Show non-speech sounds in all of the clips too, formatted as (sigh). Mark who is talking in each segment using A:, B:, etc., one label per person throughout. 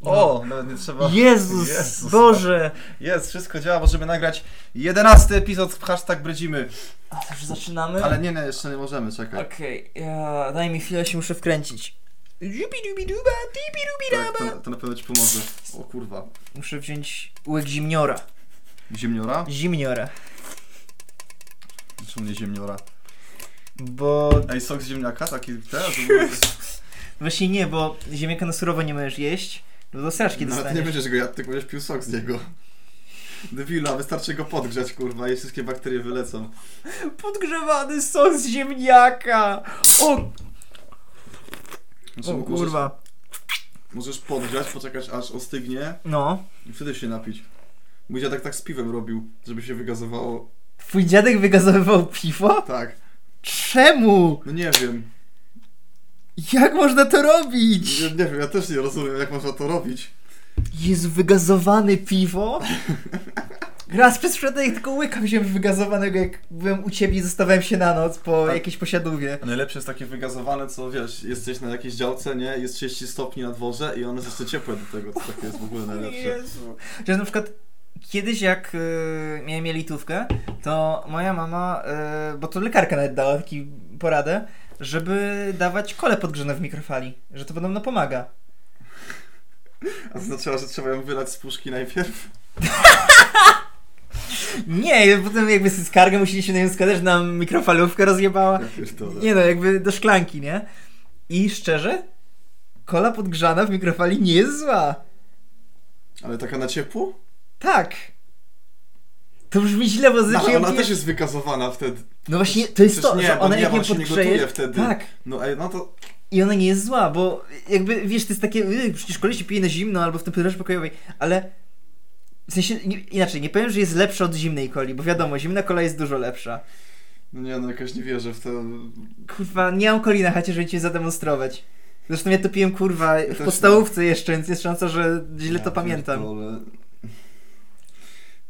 A: O, nawet nie trzeba.
B: Jezus,
A: Jezus.
B: Boże!
A: Jest, wszystko działa, możemy nagrać jedenasty epizod w hashtag Bredzimy.
B: A to już zaczynamy?
A: Ale nie, nie, jeszcze nie możemy, czekaj.
B: Okej, ja- daj mi chwilę, się muszę wkręcić. Jubidubiduba,
A: Tak,
B: dibidubiduba.
A: to, to na pewno ci pomoże. O kurwa.
B: Muszę wziąć łyk zimniora.
A: Ziemniora?
B: Zimniora.
A: Czemu nie ziemniora?
B: Bo...
A: Ej, sok z ziemniaka? Taki teraz?
B: (laughs) Właśnie nie, bo ziemniaka na surowo nie możesz jeść. No to straszki
A: Nawet nie
B: dostaniesz.
A: będziesz go jadł, tylko będziesz pił sok z niego. Debila, wystarczy go podgrzać, kurwa, i wszystkie bakterie wylecą.
B: Podgrzewany sos z ziemniaka! O,
A: Znaczy,
B: o
A: możesz-
B: kurwa.
A: Możesz podgrzać, poczekać aż ostygnie
B: No.
A: i wtedy się napić. Mój dziadek tak z piwem robił, żeby się wygazowało.
B: Twój dziadek wygazowywał piwo?
A: Tak.
B: Czemu?
A: No nie wiem.
B: Jak można to robić?
A: Nie, nie wiem, ja też nie rozumiem, jak można to robić.
B: Jezu, wygazowane piwo? Raz przez przypadek tylko łykam się wygazowanego, jak byłem u ciebie i zostawiałem się na noc po
A: Tak.
B: jakiejś posiadówie.
A: Najlepsze jest takie wygazowane, co wiesz, jesteś na jakiejś działce, nie? Jest 30 stopni na dworze i one są jeszcze ciepłe do tego, co takie jest w ogóle najlepsze.
B: Jezu. Że na przykład kiedyś jak y, miałem jelitówkę, to moja mama, y, bo to lekarka nawet dała taki poradę, żeby dawać kole podgrzane w mikrofali, że to podobno pomaga.
A: A to znaczyło, że trzeba ją wylać z puszki najpierw.
B: Nie, potem jakby skargę musieliśmy na nią składać, że nam mikrofalówkę rozjebała.
A: Ja pierdolę.
B: Nie no, jakby do szklanki, nie? I szczerze, kola podgrzana w mikrofali nie jest zła.
A: Ale taka na ciepło?
B: Tak. To brzmi źle, bo
A: No,
B: zresztą...
A: ale ona też jest wygazowana wtedy.
B: No właśnie, to jest
A: Przecież
B: to,
A: nie,
B: że
A: bo
B: ona
A: nie,
B: jak
A: bo
B: ją
A: ona się nie
B: podgrzeje...
A: gotuje wtedy.
B: Tak.
A: No ej, no to
B: I ona nie jest zła, bo jakby, wiesz, to jest takie... y, Przecież kolej się pije na zimno albo w temperaturze pokojowej, ale... W sensie, nie, inaczej, nie powiem, że jest lepsza od zimnej coli, bo wiadomo, zimna kola jest dużo lepsza.
A: No nie, no jakoś nie wierzę w to.
B: Kurwa, nie mam coli na chacie, żeby cię zademonstrować. Zresztą ja to piłem, kurwa,
A: też
B: w
A: nie.
B: podstawówce jeszcze, więc jest szansa, że źle
A: Ja
B: to pamiętam.
A: pierdolę.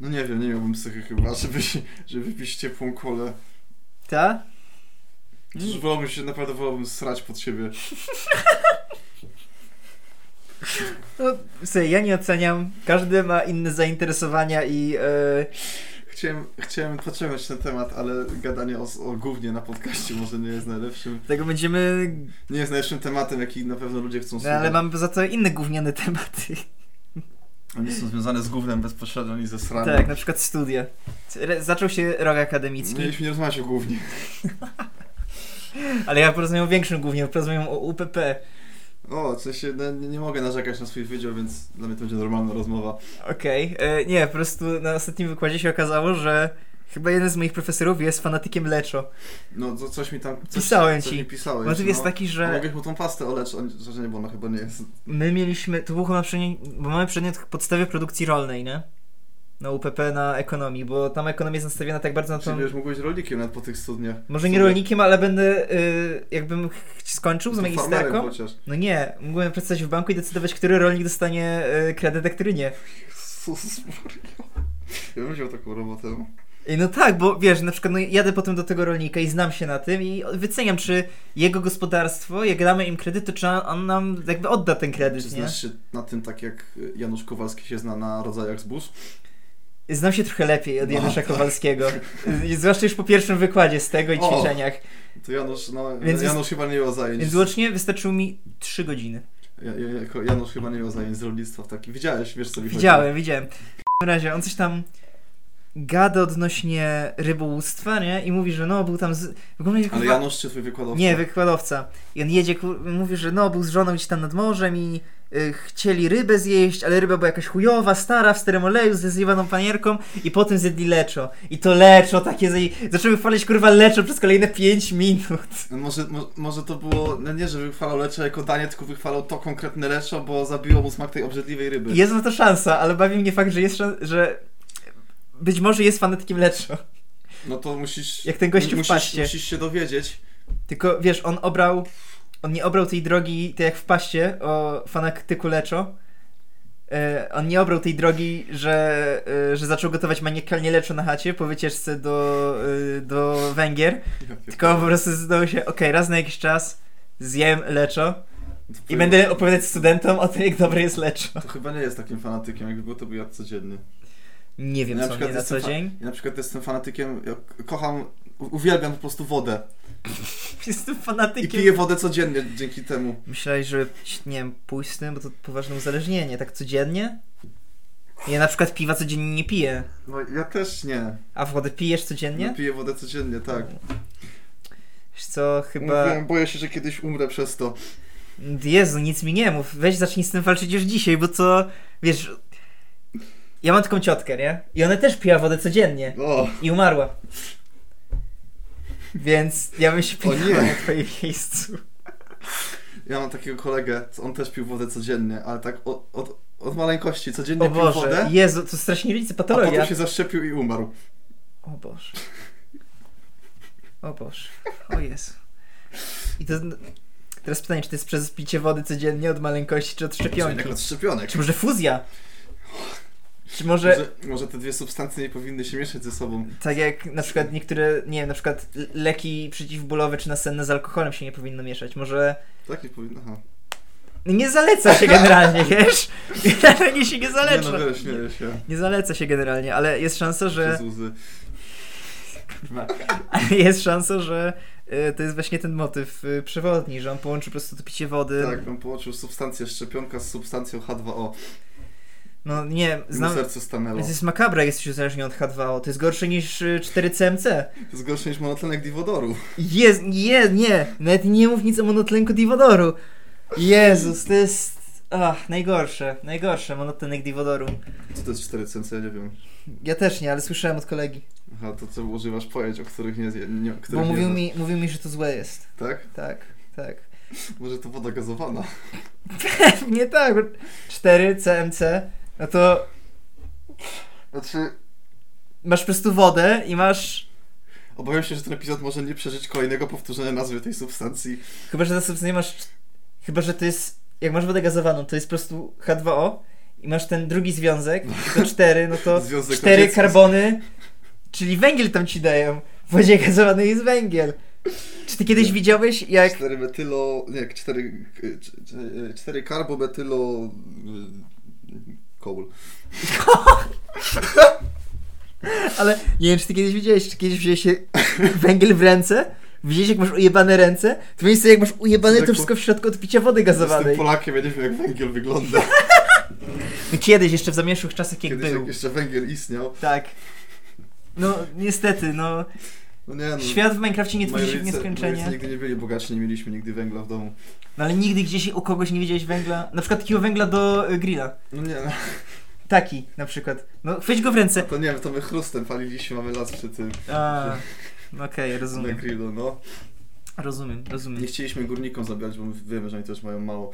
A: No nie wiem, nie miałbym psychy chyba, żeby, się- żeby pić ciepłą kolę.
B: Ta?
A: Przecież wolałbym się, naprawdę wolałbym srać pod siebie.
B: No, słuchaj, ja nie oceniam. Każdy ma inne zainteresowania i... Yy,
A: Chciałem, chciałem pociągnąć ten temat, ale gadanie o, o gównie na podcaście może nie jest najlepszym.
B: tego będziemy...
A: Nie jest najlepszym tematem, jaki na pewno ludzie chcą
B: No,
A: słuchać.
B: ale mam za to inne gówniane (laughs) tematy.
A: Oni są związane z gównem bezpośrednio i ze sranem.
B: Tak, na przykład studia. Re- zaczął się rok akademicki,
A: Mieliśmy nie rozmawiać o gównie.
B: ale ja porozmawiam o większym głównie, porozmawiam o UPP.
A: O, w sensie no, nie, nie mogę narzekać na swój wydział, więc dla mnie to będzie normalna rozmowa.
B: Okej, e, nie, po prostu na ostatnim wykładzie się okazało, że chyba jeden z moich profesorów jest fanatykiem leczo.
A: No, co, coś mi tam... Coś,
B: Pisałem
A: coś
B: ci.
A: Mi pisałeś,
B: Motyw jest
A: no.
B: taki, że...
A: Mogę mu tą pastę olecz, on, że nie, bo ona chyba nie jest.
B: My mieliśmy, to był chyba przedmiot, bo mamy przedmiot podstawy produkcji rolnej, nie? Na UPP, na ekonomii, bo tam ekonomia jest nastawiona tak bardzo na
A: Czyli
B: tą...
A: już mogłeś rolnikiem nawet po tych studniach.
B: Może nie
A: Studiach.
B: rolnikiem, ale będę, y, jakbym ch- skończył z
A: To farmerem
B: magisterką.
A: chociaż.
B: No nie, mógłbym pracować w banku i decydować, który rolnik dostanie y, kredyt, a który nie.
A: Jezus Maria. Ja bym wziął taką robotę.
B: Ej, No tak, bo wiesz, na przykład no, jadę potem do tego rolnika i znam się na tym i wyceniam, czy jego gospodarstwo, jak damy im kredyt, to czy on- on nam jakby odda ten
A: Czy
B: kredyt, nie?
A: znasz się na tym tak jak Janusz Kowalski się zna na rodzajach zbóż?
B: Znam się trochę lepiej od
A: No,
B: Janusza
A: tak.
B: Kowalskiego. Y, Zwłaszcza już po pierwszym wykładzie z tego i
A: O.
B: ćwiczeniach.
A: To Janusz, no,
B: Więc-
A: Janusz chyba nie miał zajęć.
B: Więc łącznie wystarczyło mi 3 godziny.
A: Ja, ja, jako Janusz chyba nie miał zajęć z rolnictwa w takim. Widziałeś, wiesz co mi chodzi?
B: Widziałem, widziałem. W każdym razie on coś tam gada odnośnie rybołówstwa, nie? I mówi, że no był tam z... W ogóle nie-
A: Ale Janusz czy twój wykładowca?
B: Nie, wykładowca. I on jedzie, kur- mówi, że no był z żoną gdzieś tam nad morzem i y, chcieli rybę zjeść, ale ryba była jakaś chujowa, stara, w starym oleju, ze zjebaną panierką i potem zjedli leczo. I to leczo takie... Zje... Zaczęły chwalić kurwa leczo przez kolejne 5 minut.
A: No Może, mo, może to było, no nie, że wychwalał leczo jako danie, tylko wychwalał to konkretne leczo, bo zabiło mu smak tej obrzydliwej ryby.
B: Jest na to szansa, ale bawi mnie fakt, że jest szan- że być może jest fanatykiem leczo.
A: No to musisz...
B: Jak ten gościu w
A: musisz,
B: paście.
A: musisz się dowiedzieć.
B: Tylko wiesz, on obrał. On nie obrał tej drogi, tak jak w paście o fanatyku leczo. E, on nie obrał tej drogi, że, e, że zaczął gotować maniakalnie leczo na chacie po wycieczce do, e, do Węgier.
A: Ja pier-
B: Tylko po prostu zdecydował się, okej, raz na jakiś czas zjem leczo. I będę opowiadać studentom o tym, jak dobre jest leczo.
A: To chyba nie jest takim fanatykiem, jakby było to by jadł codziennie.
B: Nie wiem,
A: Ja na
B: co
A: przykład
B: mnie na
A: jestem
B: co
A: fa- (laughs)
B: dzień.
A: Ja na przykład jestem fanatykiem, ja k- kocham, u- uwielbiam po prostu wodę.
B: Jestem
A: I
B: fanatykiem.
A: piję wodę codziennie dzięki temu.
B: Myślałeś, żeby, nie wiem, pójść z tym, bo to poważne uzależnienie, tak codziennie? Ja na przykład piwa codziennie nie piję.
A: No ja też nie.
B: A wodę pijesz codziennie?
A: No, piję wodę codziennie, tak.
B: Wiesz co, chyba...
A: Mówiłem, boję się, że kiedyś umrę przez to.
B: Jezu, nic mi nie mów. Weź zacznij z tym walczyć już dzisiaj, bo to... Wiesz... Ja mam taką ciotkę, nie? I ona też piła wodę codziennie.
A: O,
B: I umarła. Więc ja bym się
A: O nie.
B: pilnował na twoim miejscu.
A: ja mam takiego kolegę, co- on też pił wodę codziennie, ale tak od, od, od maleńkości. Codziennie
B: O
A: pił
B: Boże,
A: wodę,
B: Jezu, to strasznie licy
A: a potem
B: patologia.
A: się zaszczepił i umarł.
B: O Boże. O Boże. O Jezu. I to... Teraz pytanie, czy to jest przez picie wody codziennie od maleńkości, czy od szczepionki?
A: Jak tak od szczepionek.
B: Czy może fuzja? Czy może
A: Może, może te dwie substancje nie powinny się mieszać ze sobą.
B: tak jak na przykład niektóre, nie wiem, na przykład l- leki przeciwbólowe czy nasenne z alkoholem się nie powinno mieszać? Może
A: Tak nie powinno. Aha.
B: nie zaleca się
A: (laughs)
B: generalnie, wiesz? (laughs) Generalnie się nie zaleca.
A: Nie no, wiesz, nie się.
B: Nie zaleca się generalnie, ale jest szansa, że
A: Przez łzy. Kurwa.
B: ale jest szansa, że y, to jest właśnie ten motyw y, przewodni, że on połączy po prostu to picie wody.
A: Tak, on połączył substancję szczepionka z substancją H2O.
B: No nie,
A: I mu
B: znam.
A: serce stanęło.
B: To jest makabra, jesteś uzależniony od H2O. To jest gorsze niż y, 4CMC.
A: To jest gorsze niż monotlenek diwodoru.
B: Jest, nie, nie. Nawet nie mów nic o monotlenku diwodoru. Jezus, to jest... Ach, najgorsze, najgorsze monotlenek diwodoru.
A: Co to jest 4 cence? Ja nie wiem.
B: Ja też nie, ale słyszałem od kolegi.
A: Aha, to co używasz pojęć, o których nie, nie o których
B: Bo
A: nie
B: mówił
A: znasz.
B: mi, mówił mi, że to złe jest.
A: Tak?
B: Tak, tak. (laughs)
A: Może to woda gazowana.
B: Pewnie tak. 4CMC, no to
A: Znaczy...
B: masz po prostu wodę i masz...
A: Obawiam się, że ten epizod może nie przeżyć kolejnego powtórzenia nazwy tej substancji.
B: Chyba, że na substancji masz... cz- Chyba, że to jest... Jak masz wodę gazowaną, to jest po prostu H2O i masz ten drugi związek,
A: (laughs)
B: to 4, no to...
A: Związek
B: Cztery
A: radziecki.
B: karbony, czyli węgiel tam ci dają. W wodzie gazowanej jest węgiel. Czy ty kiedyś
A: Nie.
B: widziałeś, jak...
A: Cztery metylo... Nie, cztery... k- c- c- e, Cztery karbometylo... y, Koul.
B: Ale nie wiem, czy ty kiedyś widziałeś, czy kiedyś wziąłeś się węgiel w ręce? Widziałeś, jak masz ujebane ręce? To miejsce, jak masz ujebane, to
A: Zwykłe.
B: wszystko w środku od picia wody
A: Jestem
B: gazowanej.
A: Polakiem, ja nie wiem jak węgiel wygląda.
B: No Kiedyś, jeszcze w zamieszłych czasach, jak
A: Kiedyś
B: był.
A: jak jeszcze węgiel istniał.
B: Tak. No, niestety, no...
A: No nie no.
B: Świat w Minecrafcie nie tworzy
A: moi
B: się w
A: rodzice- moi rodzice
B: nieskończenie.
A: nigdy nie byli bogaci, nie mieliśmy nigdy węgla w domu.
B: No ale nigdy gdzieś u kogoś nie widziałeś węgla. Na przykład takiego węgla do y, grilla.
A: No nie, no.
B: Taki, na przykład. No, chwyć go w ręce.
A: to nie wiem, to my chrustem paliliśmy, mamy las przy tym (laughs)
B: A, Okej,
A: na
B: rozumiem.
A: grillu, no.
B: Rozumiem,
A: Nie
B: rozumiem.
A: chcieliśmy górnikom zabierać, bo my wiemy, że oni też mają mało.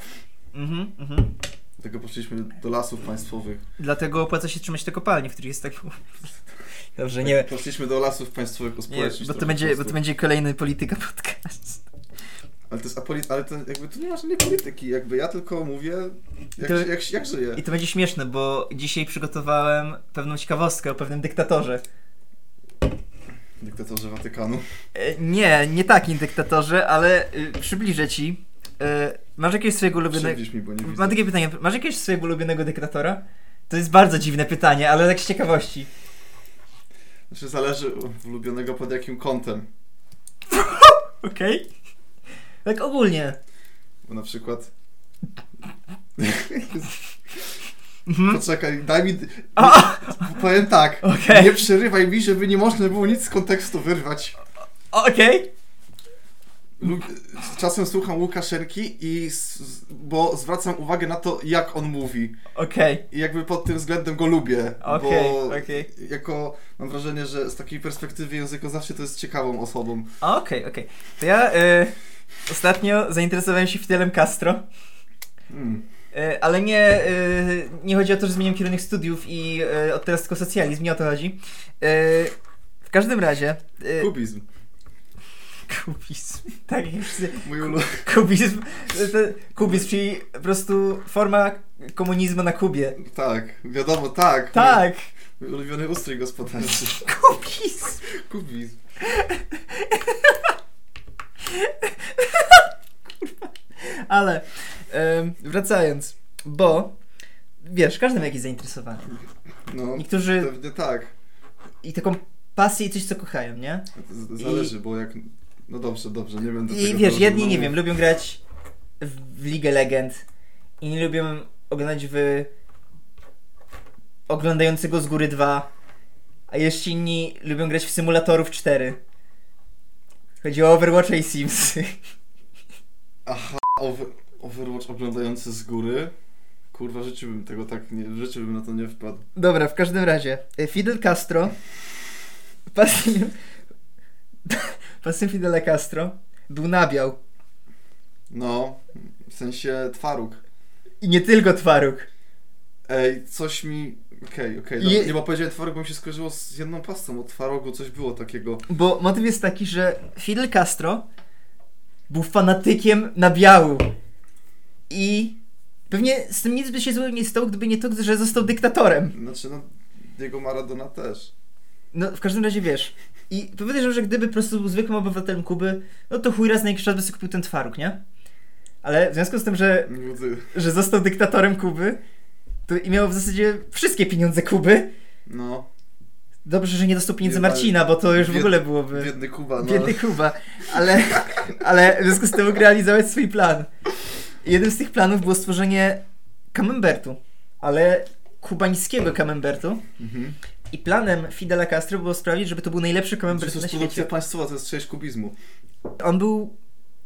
B: Mhm, mhm.
A: Dlatego poszliśmy do lasów państwowych.
B: Dlatego opłaca się trzymać te kopalnie, w których jest tak. (laughs) Dobrze, nie.
A: Poszliśmy do lasów państwowych
B: nie
A: uspołecznić
B: bo, to
A: trochę
B: będzie,
A: po
B: bo to
A: prostu.
B: będzie kolejny polityka podcast.
A: Ale to jest apoli... ale to jakby tu nie ma żadnej polityki, jakby ja tylko mówię, jak,
B: To-
A: się- jak, się- jak żyję.
B: I to będzie śmieszne, bo dzisiaj przygotowałem pewną ciekawostkę o pewnym dyktatorze.
A: Dyktatorze Watykanu.
B: E, Nie, nie takim dyktatorze, ale y, przybliżę ci. E, Masz jakiegoś swojego ulubionego.
A: Przybliż mi, bo nie widzę.
B: Mam takie pytanie. Masz jakiegoś swojego ulubionego dyktatora? To jest bardzo dziwne pytanie, ale tak z ciekawości.
A: Znaczy zależy od ulubionego pod jakim kątem.
B: Okej? Tak ogólnie.
A: Bo na przykład...
B: Mhm.
A: Poczekaj, daj mi...
B: O!
A: Powiem tak.
B: Okej.
A: Nie przerywaj mi, żeby nie można było nic z kontekstu wyrwać.
B: Okej.
A: Lu- Czasem słucham Łukaszenki i s- s- bo zwracam uwagę na to, jak on mówi.
B: Okej.
A: I jakby pod tym względem go lubię.
B: Okej,
A: bo
B: okej.
A: jako mam wrażenie, że z takiej perspektywy języka zawsze to jest ciekawą osobą.
B: A, Okej, okej. To ja y, ostatnio zainteresowałem się Fidelem Castro,
A: Mm.
B: y, ale nie, y, nie chodzi o to, że zmieniłem kierunek studiów i y, od teraz tylko socjalizm, nie o to chodzi. Y, w każdym razie... Y,
A: Kubizm.
B: (laughs) kubizm. Tak, jak wszyscy...
A: Mój ulu...
B: Kubizm, y, te- kubizm, czyli po prostu forma komunizmu na Kubie.
A: Tak, wiadomo, tak.
B: Tak,
A: Mój, mój ulubiony ustrój gospodarczy. (laughs)
B: kubizm.
A: Kubizm.
B: Ale em, wracając, bo wiesz, każdy ma jakieś zainteresowanie.
A: No,
B: Niektórzy
A: pewnie tak.
B: i taką pasję i coś, co kochają, nie?
A: Z- Zależy, bo jak... No dobrze, dobrze, nie będę
B: I
A: tego no
B: wiesz,
A: dobrze
B: jedni, nie
A: mówił.
B: wiem, lubią grać w, w Ligę Legend i nie lubią oglądać w oglądającego z góry 2, a jeszcze inni lubią grać w symulatorów 4. Chodzi o Overwatcha i Simsy.
A: Aha, over, Overwatch oglądający z góry. Kurwa, w życiu bym tego tak nie... W życiu bym na to nie wpadł.
B: (laughs) Dobra, w każdym razie. e, Fidel Castro. (laughs) Pasem, pasem Fidela Castro był nabiał.
A: No, w sensie twaróg.
B: I nie tylko twaróg.
A: Ej, coś mi... Okej, okej,
B: Je-
A: dobra. nie, bo powiedziałem twaróg, bo mi się skojarzyło z jedną pastą od twarogu, coś było takiego.
B: Bo motyw jest taki, że Fidel Castro był fanatykiem nabiału. I pewnie z tym nic by się złego nie stało, gdyby nie to, że został dyktatorem.
A: Znaczy, no, Diego Maradona też.
B: No, w każdym razie wiesz. I powiedziałem, że gdyby po prostu był zwykłym obywatelem Kuby, no to chuj raz na jakiś czas by sobie kupił ten twaróg, nie? Ale w związku z tym, że
A: Ludy.
B: że został dyktatorem Kuby to i miał w zasadzie wszystkie pieniądze Kuby.
A: No,
B: Dobrze, że nie dostał pieniędzy
A: Nie, ale-
B: Marcina, bo to już w
A: bied-
B: ogóle byłoby biedny,
A: biedny Kuba, no.
B: Kuba. Ale, ale w związku z tym mógł realizować swój plan. I Jednym z tych planów było stworzenie camembertu, ale kubańskiego camembertu.
A: Mhm.
B: I planem Fidela Castro było sprawić, żeby to był najlepszy
A: Przecież
B: camembert
A: to
B: na
A: jest
B: świecie.
A: produkcja państwowa, to jest część kubizmu.
B: on był,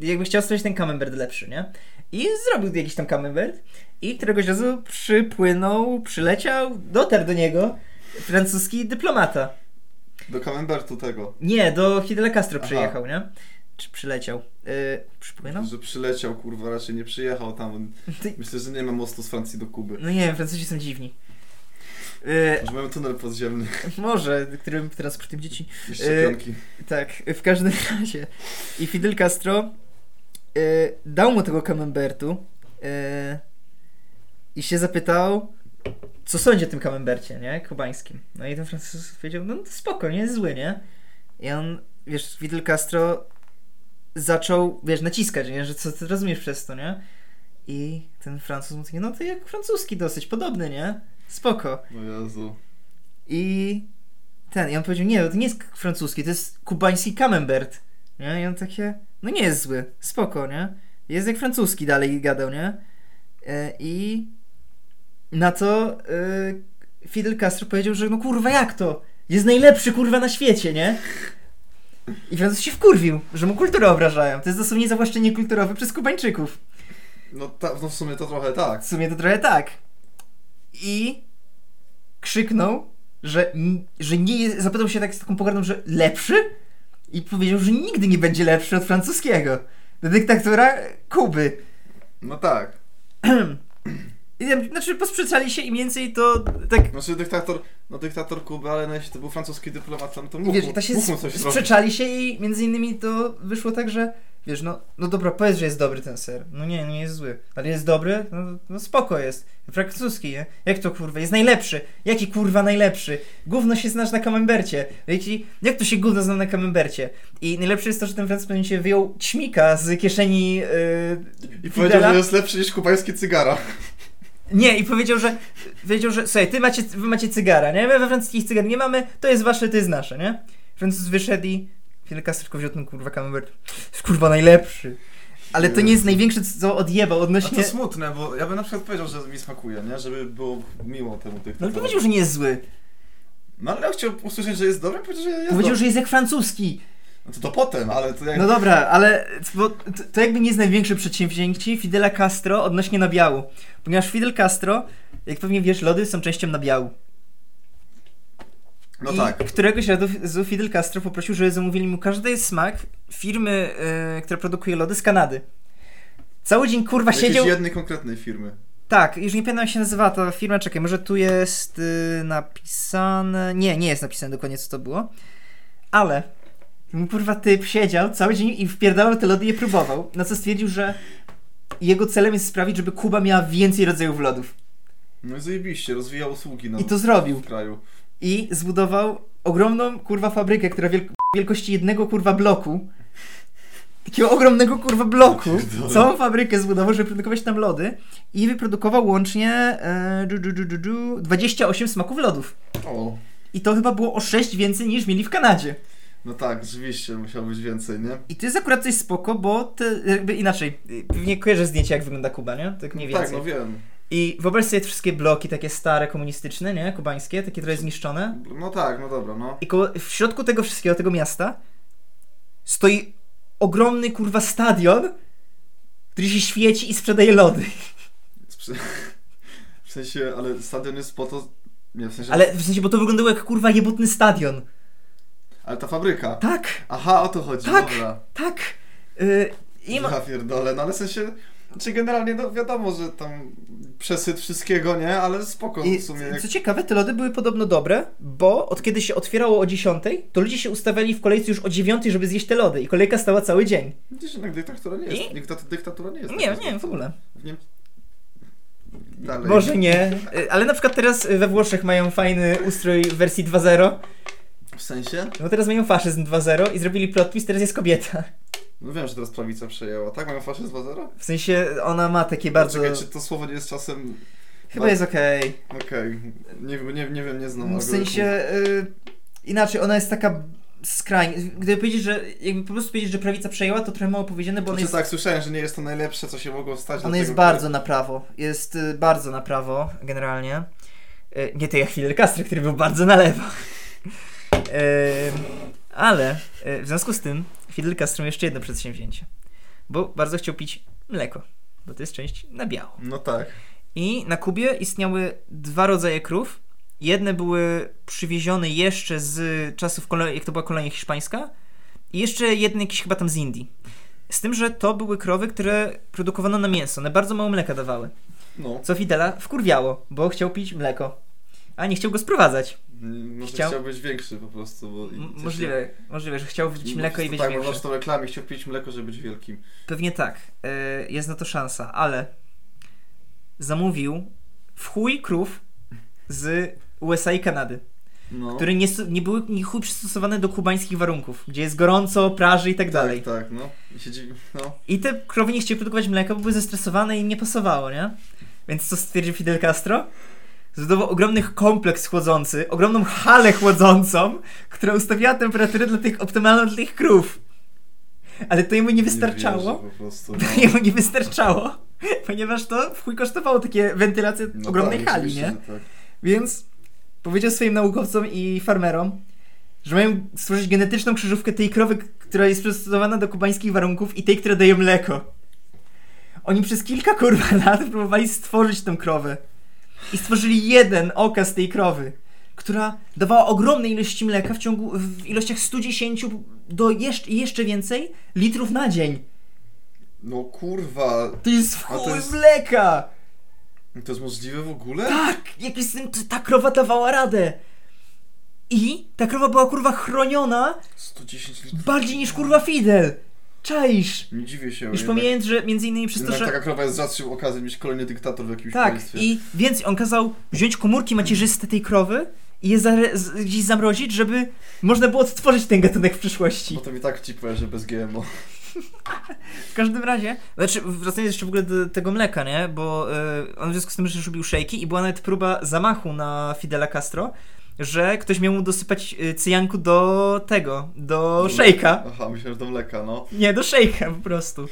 B: jakby chciał stworzyć ten camembert lepszy, nie? I zrobił jakiś tam camembert i któregoś razu przypłynął, przyleciał, dotarł do niego francuski dyplomata.
A: Do Camembertu tego.
B: Nie, do Fidela Castro
A: Aha.
B: przyjechał, nie? Czy przyleciał? Yy, przypłynął?
A: Że przyleciał, kurwa, raczej nie przyjechał tam.
B: Ty-
A: Myślę, że nie ma mostu z Francji do Kuby.
B: No nie wiem, Francuzi są dziwni. Yy,
A: Że mają tunel podziemny
B: może, którym transportem dzieci.
A: i szczepionki.
B: Tak, w każdym (laughs) razie. I Fidel Castro y, dał mu tego camembertu y, i się zapytał, co sądzi o tym camembercie, nie? Kubańskim. No i ten Francuz powiedział, no spoko, nie jest zły, nie? I on, wiesz, Fidel Castro zaczął, wiesz, naciskać, nie? Że co ty rozumiesz przez to, nie? I ten Francuz mówi, no to jak francuski dosyć, podobny, nie? Spoko.
A: O Jezu.
B: I ten, i on powiedział, nie, no to nie jest k- francuski, to jest kubański camembert. Nie? I on takie, no nie jest zły, spoko, nie? Jest jak francuski dalej gadał, nie? E, I na to y, Fidel Castro powiedział, że no kurwa jak to? Jest najlepszy kurwa na świecie, nie? I Francuz się wkurwił, że mu kulturę obrażają. To jest dosłownie zawłaszczenie kulturowe przez Kubańczyków.
A: No, ta, no w sumie to trochę tak.
B: W sumie to trochę tak. I krzyknął, że, że nie jest, zapytał się tak z taką pogardą, że lepszy? I powiedział, że nigdy nie będzie lepszy od francuskiego. Do dyktatora Kuby.
A: No tak.
B: I tam, znaczy posprzeczali się i mniej więcej to tak...
A: Znaczy dyktator, no dyktator Kuby, ale no jeśli to był francuski dyplomat, tam to mógł,
B: Wiesz, i to się
A: mógł mu coś zrobić.
B: sprzeczali się i między innymi to wyszło tak, że wiesz, no, no dobra, powiedz, że jest dobry ten ser. No nie, nie jest zły. Ale jest dobry? No, no spoko jest. Francuski, nie? Jak to kurwa? Jest najlepszy. Jaki kurwa najlepszy? Gówno się znasz na kamembercie. Wiecie, jak to się gówno zna na kamembercie? I najlepsze jest to, że ten Francuz pewnie się wyjął ćmika z kieszeni yy,
A: I
B: Fidela.
A: powiedział, że jest lepszy niż kubańskie cygara.
B: Nie, i powiedział, że powiedział, że słuchaj, ty macie, wy macie cygara, nie? My we francuskich cygar nie mamy, to jest wasze, to jest nasze, nie? Francuz wyszedł i Fidel Castro tylko wziął ten kurwa camembert. Jest kurwa najlepszy. Ale to nie jest największe, co odjebał
A: A
B: odnośnie...
A: to smutne, bo ja bym na przykład powiedział, że mi smakuje, nie? Żeby było miło temu
B: No ale
A: dyktatorom.
B: powiedział, że nie jest zły.
A: No ale ja chciał usłyszeć, że jest dobry, powiedział, że jest
B: Powiedział,
A: dobry.
B: że jest jak francuski.
A: No to, to potem, ale to jak...
B: No dobra, ale bo to, to jakby nie jest największe przedsięwzięcie Fidela Castro odnośnie nabiału. Ponieważ Fidel Castro, jak pewnie wiesz, lody są częścią nabiału.
A: no
B: I
A: tak.
B: któregoś razu Fidel Castro poprosił, żeby zamówili mu każdy smak firmy, y, która produkuje lody z Kanady. Cały dzień kurwa
A: Jakiejś
B: siedział.
A: jednej konkretnej firmy.
B: Tak, już nie pamiętam jak się nazywała ta firma, czekaj, może tu jest y, napisane. Nie, nie jest napisane dokładnie co to było. Ale ten, kurwa typ siedział cały dzień i wpierdalał te lody i je próbował. Na co stwierdził, że jego celem jest sprawić, żeby Kuba miała więcej rodzajów lodów.
A: No i zajebiście, rozwijał usługi na
B: I to zrobił.
A: w kraju.
B: i zbudował ogromną kurwa fabrykę, która wielk- wielkości jednego kurwa bloku takiego ogromnego kurwa bloku,
A: Ja pierdolę.
B: całą fabrykę zbudował, żeby produkować tam lody i wyprodukował łącznie e, du, du, du, du, du, 28 smaków lodów.
A: O.
B: I to chyba było o 6 więcej niż mieli w Kanadzie.
A: No tak, rzeczywiście, musiało być więcej, nie?
B: I to jest akurat coś spoko, bo te, jakby inaczej, pewnie kojarzę zdjęcie jak wygląda Kuba, nie? Tak mniej więcej.
A: Tak, no wiem.
B: I wyobraź sobie te wszystkie bloki takie stare, komunistyczne, nie? Kubańskie, takie trochę zniszczone.
A: No tak, no dobra, no.
B: I koło, w środku tego wszystkiego, tego miasta, stoi ogromny kurwa stadion, który się świeci i sprzedaje lody.
A: Sprze- (laughs) W sensie, ale stadion jest po to... Nie, w sensie... Ale,
B: Ale w sensie, bo to wyglądało jak kurwa jebutny stadion.
A: ta fabryka.
B: Tak,
A: Aha, o to chodzi,
B: Tak.
A: No dobra.
B: tak. Yy, i ma...
A: Ja pierdolę, no ale w sensie... Czy generalnie, no wiadomo, że tam przesyt wszystkiego, nie? Ale spoko
B: I
A: w sumie. Jak...
B: co ciekawe, te lody były podobno dobre, bo od kiedy się otwierało o 10, to ludzie się ustawiali w kolejce już o 9, żeby zjeść te lody i kolejka stała cały dzień.
A: Widzisz, jednak dyktatura nie jest.
B: I-
A: Dyktat, dyktatura nie jest.
B: Nie,
A: taka
B: nie, w ogóle.
A: W Niem... Dalej.
B: Może nie, y, ale na przykład teraz y, we Włoszech mają fajny ustrój w wersji 2.0,
A: W sensie?
B: no teraz mają faszyzm 2.0 i zrobili plot twist, teraz jest kobieta.
A: No wiem, że teraz prawica przejęła. Tak, mają faszyzm 2.0?
B: W sensie ona ma takie bardzo...
A: Czekaj, czy to słowo nie jest czasem...
B: Chyba jest okej.
A: Okej, nie, nie, nie wiem, nie znam
B: W sensie y, inaczej, ona jest taka skrajnie. Gdyby powiedzieć, że jakby po prostu powiedzieć, że prawica przejęła, to trochę mało powiedziane, bo ona
A: Znaczy,
B: jest,
A: tak, słyszałem, że nie jest to najlepsze, co się mogło stać.
B: ona
A: dlatego-
B: jest bardzo na prawo. Jest y, bardzo na prawo generalnie. Y, nie tej Fidel Castro, który był bardzo na lewo. (laughs) Y, ale y, w związku z tym Fidel Castro miał jeszcze jedno przedsięwzięcie. Bo bardzo chciał pić mleko, bo to jest część na biało.
A: No tak.
B: I na Kubie istniały dwa rodzaje krów. Jedne były przywiezione jeszcze z czasów, kolonii, jak to była kolonia hiszpańska, i jeszcze jedne jakieś chyba tam z Indii. Z tym, że to były krowy, które produkowano na mięso. One bardzo mało mleka dawały.
A: No.
B: Co Fidela wkurwiało, bo chciał pić mleko, a nie chciał go sprowadzać.
A: Mm, Może
B: Chciał-
A: chciał... być większy po prostu, bo... i-
B: M-
A: gdzieś-
B: możliwe, możliwe, że chciał pić
A: Może
B: mleko i być
A: Tak,
B: większy.
A: może w to reklamie chciał pić mleko, żeby być wielkim.
B: Pewnie tak. Y, jest na to szansa, ale zamówił w chuj krów z USA i Kanady.
A: No.
B: które nie, su- nie były nie chuj przystosowane do kubańskich warunków, gdzie jest gorąco, praży i tak dalej.
A: Tak, tak, no. I siedzi... No.
B: I te krowy nie chciały produkować mleka, bo były zestresowane i im nie pasowało, nie? Więc co stwierdził Fidel Castro? Zbudował ogromny kompleks chłodzący, ogromną halę chłodzącą, która ustawiała temperaturę dla tych optymalną dla tych krów. Ale to jemu nie
A: Nie
B: wystarczało.
A: wierzę po prostu,
B: To
A: no.
B: jemu (laughs) nie wystarczało, ponieważ to w chuj kosztowało takie wentylacje
A: No
B: ogromnej
A: tak,
B: hali,
A: oczywiście,
B: nie?
A: że Tak.
B: Więc powiedział swoim naukowcom i farmerom, że mają stworzyć genetyczną krzyżówkę tej krowy, k- która jest przystosowana do kubańskich warunków i tej, która daje mleko. Oni przez kilka kurwa (laughs) lat próbowali stworzyć tę krowę. I stworzyli jeden okaz tej krowy, która dawała ogromne ilości mleka w ciągu w ilościach 110 do jeszcze, jeszcze więcej litrów na dzień.
A: No kurwa,
B: To jest w
A: A to
B: chuj
A: jest-
B: mleka!
A: to jest możliwe w ogóle?
B: Tak! Jak jestem, to ta krowa dawała radę! I ta krowa była kurwa chroniona
A: 110 litrów.
B: bardziej niż kurwa Fidel! Czaisz!
A: Nie dziwię się.
B: Już
A: jednak-
B: pomijając, że między innymi przez to,
A: Jednak
B: że...
A: taka krowa jest rzadszym okazem niż kolejny dyktator w jakimś
B: Tak,
A: państwie.
B: i więcej, on kazał wziąć komórki macierzyste tej krowy i je zare- z- gdzieś zamrozić, żeby można było odtworzyć ten gatunek w przyszłości.
A: Bo to mi tak ci powiem, że bez GMO.
B: W każdym razie, znaczy wracając jeszcze w ogóle do tego mleka, nie? Bo y, on w związku z tym, że już robił szejki i była nawet próba zamachu na Fidela Castro, że ktoś miał mu dosypać y, cyjanku do tego, do szejka.
A: Aha, myślę, że do mleka, no.
B: Nie, do szejka po prostu.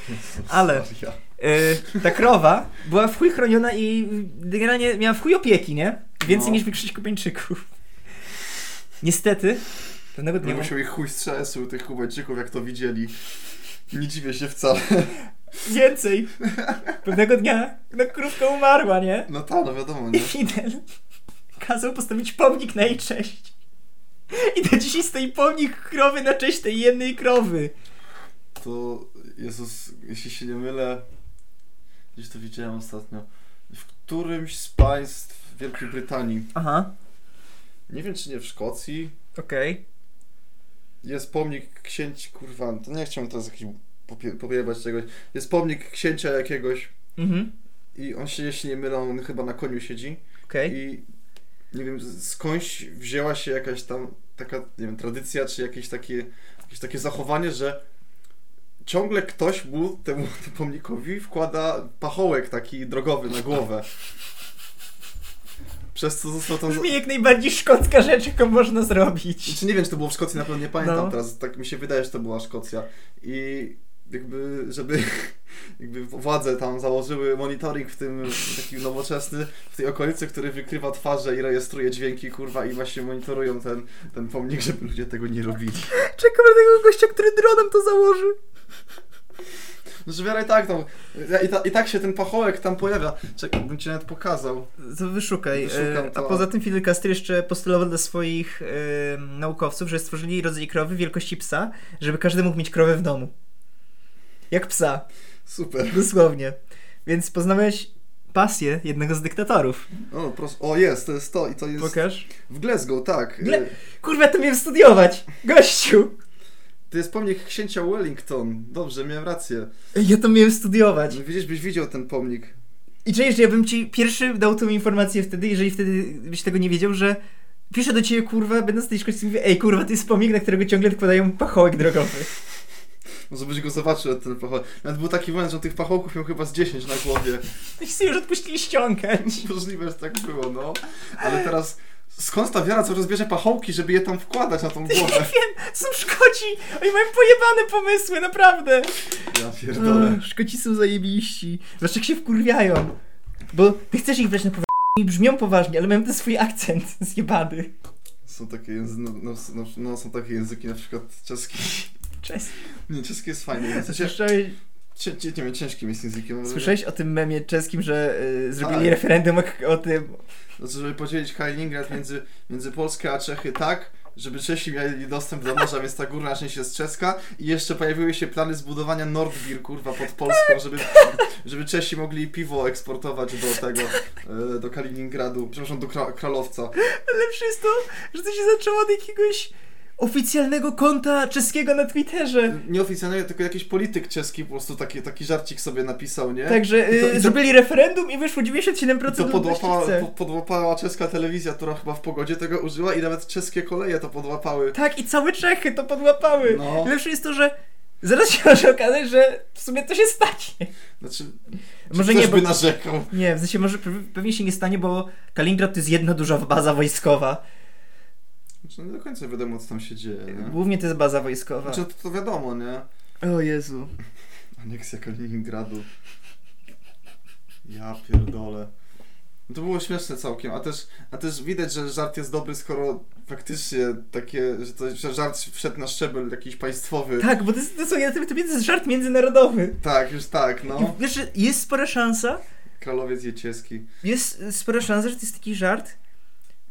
B: Ale
A: Ja.
B: y, ta krowa była w chuj chroniona i generalnie miała w chuj opieki, nie? Więcej
A: No.
B: niż większość Kubańczyków. Niestety, pewnego
A: Nie
B: dnia...
A: musiał ich chuj strzesł tych Kubańczyków, jak to widzieli. Nie dziwię się wcale.
B: Więcej! Pewnego dnia no, krówka umarła, nie?
A: No tak, no wiadomo,
B: I
A: nie?
B: Fidel kazał postawić pomnik na jej cześć. I do dzisiaj stoi pomnik krowy na cześć tej jednej krowy.
A: To, Jezus, jeśli się nie mylę, gdzieś to widziałem ostatnio, w którymś z państw Wielkiej Brytanii,
B: Aha,
A: nie wiem czy nie w Szkocji,
B: okej.
A: jest pomnik księć, kurwa, to nie chciałem teraz jakiś popie- popiewać czegoś, jest pomnik księcia jakiegoś
B: Mhm,
A: i on się, jeśli nie mylę, on chyba na koniu siedzi
B: okej.
A: i nie wiem, z- skądś wzięła się jakaś tam taka, nie wiem, tradycja, czy jakieś takie, jakieś takie zachowanie, że ciągle ktoś mu, temu, (laughs) temu pomnikowi wkłada pachołek taki drogowy na głowę. Przez co został tam...
B: Brzmi jak najbardziej szkocka rzecz, jaką można zrobić.
A: Czy nie wiem, czy to było w Szkocji, na pewno nie pamiętam
B: No.
A: teraz. Tak mi się wydaje, że to była Szkocja. I jakby, żeby (laughs) jakby władze tam założyły monitoring w tym taki nowoczesny, w tej okolicy, który wykrywa twarze i rejestruje dźwięki, kurwa, i właśnie monitorują ten, ten pomnik, żeby ludzie tego nie robili.
B: Czekam na tego gościa, który dronem to założy.
A: Znaczy wiara i tak tam, i, ta, i tak się ten pachołek tam pojawia. Czekaj, bym ci nawet pokazał.
B: To wyszukaj.
A: Wyszukam
B: e, A
A: to.
B: poza tym Fidel Castro jeszcze postulował dla swoich e, naukowców, że stworzyli rodzaj krowy wielkości psa, żeby każdy mógł mieć krowę w domu. Jak psa,
A: Super.
B: dosłownie. Więc poznałeś pasję jednego z dyktatorów.
A: O, proszę. O, jest, to jest to i to jest
B: Pokaż.
A: w Glasgow, tak.
B: Gle-
A: Y,
B: Kurwa, to miałem studiować! Gościu!
A: To jest pomnik księcia Wellington. Dobrze, miałem rację.
B: Ej, Ja to miałem studiować.
A: No, widzisz, byś widział ten pomnik.
B: I czujesz, że ja bym ci pierwszy dał tą informację wtedy, jeżeli wtedy byś tego nie wiedział, że piszę do ciebie, kurwa, będąc w tej szkole i mówię, ej, kurwa, to jest pomnik, na którego ciągle wkładają pachołek drogowy.
A: Może byś go zobaczył, ten pachołek. Nawet był taki moment, że on tych pachołków miał chyba z 10 na głowie. (laughs)
B: No I sobie już odpuścili ściągać.
A: Możliwe, że tak było, no. Ale teraz skąd ta wiara, co rozbierze pachołki, żeby je tam wkładać na tą głowę?
B: Są Szkoci! Oni mają pojebane pomysły, naprawdę!
A: (laughs) Ja pierdolę.
B: Ach, Szkoci są zajebiści. Zobacz, jak się wkurwiają. Bo ty chcesz ich brać na poważnie i brzmią poważnie, ale mają ten swój akcent (laughs) zjebany.
A: Są takie języki, no, no, no, no są takie języki, na przykład czeski.
B: Cześć.
A: Nie, czeski jest fajny. W sensie,
B: Słyszałeś,
A: cie, cie, nie wiem, ciężkim jest językiem. ale-
B: słyszałeś o tym memie czeskim, że y, zrobili
A: Tak.
B: referendum o, o tym,
A: Znaczy, żeby podzielić Kaliningrad między, między Polskę a Czechy tak, żeby Czesi mieli dostęp do morza, więc ta górna część jest czeska i jeszcze pojawiły się plany zbudowania Nordbir, kurwa, pod Polską, żeby, żeby Czesi mogli piwo eksportować do tego, e, do Kaliningradu, przepraszam, do Kra- Kralowca.
B: Lepsze jest to, że to się zaczęło od jakiegoś oficjalnego konta czeskiego na Twitterze.
A: Nieoficjalnie, tylko jakiś polityk czeski po prostu taki, taki żarcik sobie napisał, nie?
B: Także
A: I to- i
B: y,
A: to-
B: zrobili referendum i wyszło 97%
A: To
B: ludności
A: podłapała,
B: chce.
A: po, podłapała czeska telewizja, która chyba w pogodzie tego użyła i nawet czeskie koleje to podłapały.
B: Tak, i całe Czechy to podłapały.
A: No.
B: Lepsze jest to, że zaraz się (laughs) może okazać, że w sumie to się stanie.
A: Znaczy,
B: Może
A: ktoś
B: nie, bo...
A: by narzekał.
B: Nie, w sensie może pe- pewnie się nie stanie, bo Kaliningrad to jest jedna duża baza wojskowa.
A: Znaczy, nie do końca wiadomo, co tam się dzieje, nie?
B: Głównie to jest baza wojskowa.
A: Znaczy, to, to wiadomo, nie?
B: O Jezu.
A: Aneksja Kaliningradu. Ja pierdolę. No To było śmieszne całkiem, a też, a też widać, że żart jest dobry, skoro faktycznie takie, że, to, że żart wszedł na szczebel jakiś państwowy. Tak,
B: Tak, bo to, jest, to, są, to, to jest żart międzynarodowy.
A: już tak, no.
B: I wiesz, że jest spora szansa,
A: Kralowiec Jecieski.
B: jest spora szansa, że to jest taki żart,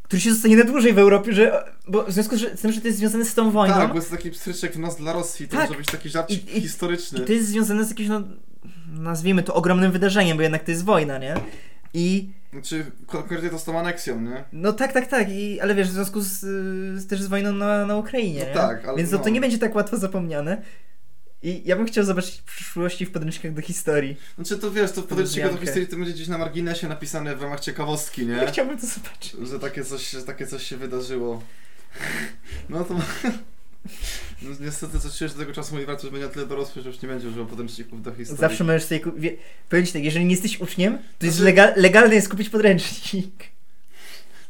B: który się zostanie na dłużej w Europie, że, bo w związku z tym, że to jest związane z tą wojną
A: Tak, bo jest taki pstryczek w nos dla Rosji, to
B: no. Tak.
A: może być taki żart
B: I- i-
A: historyczny.
B: i to jest związane z jakimś, no, nazwijmy to ogromnym wydarzeniem, bo jednak to jest wojna, nie? I
A: Znaczy, konkretnie to z tą aneksją, nie?
B: no tak, tak, tak, i, ale wiesz, w związku z, y, z, też z wojną na, na Ukrainie,
A: No
B: nie?
A: tak, ale
B: Więc no, to
A: no.
B: nie będzie tak łatwo zapomniane. I ja bym chciał zobaczyć w przyszłości w podręcznikach do historii.
A: Znaczy, to wiesz, to w podręczniku do
B: Wzmiankę.
A: historii to będzie gdzieś na marginesie napisane w ramach ciekawostki, nie?
B: Ja chciałbym to zobaczyć.
A: że takie coś, że takie coś się wydarzyło. No to. No, niestety coś się, że tego czasu mój wartość będzie na tyle dorosły, że już nie będzie używał podręczników do historii.
B: Zawsze możesz sobie ku- wie, powiedzieć tak, jeżeli nie jesteś uczniem, to jest
A: Znaczy-
B: legal, legalne jest kupić podręcznik.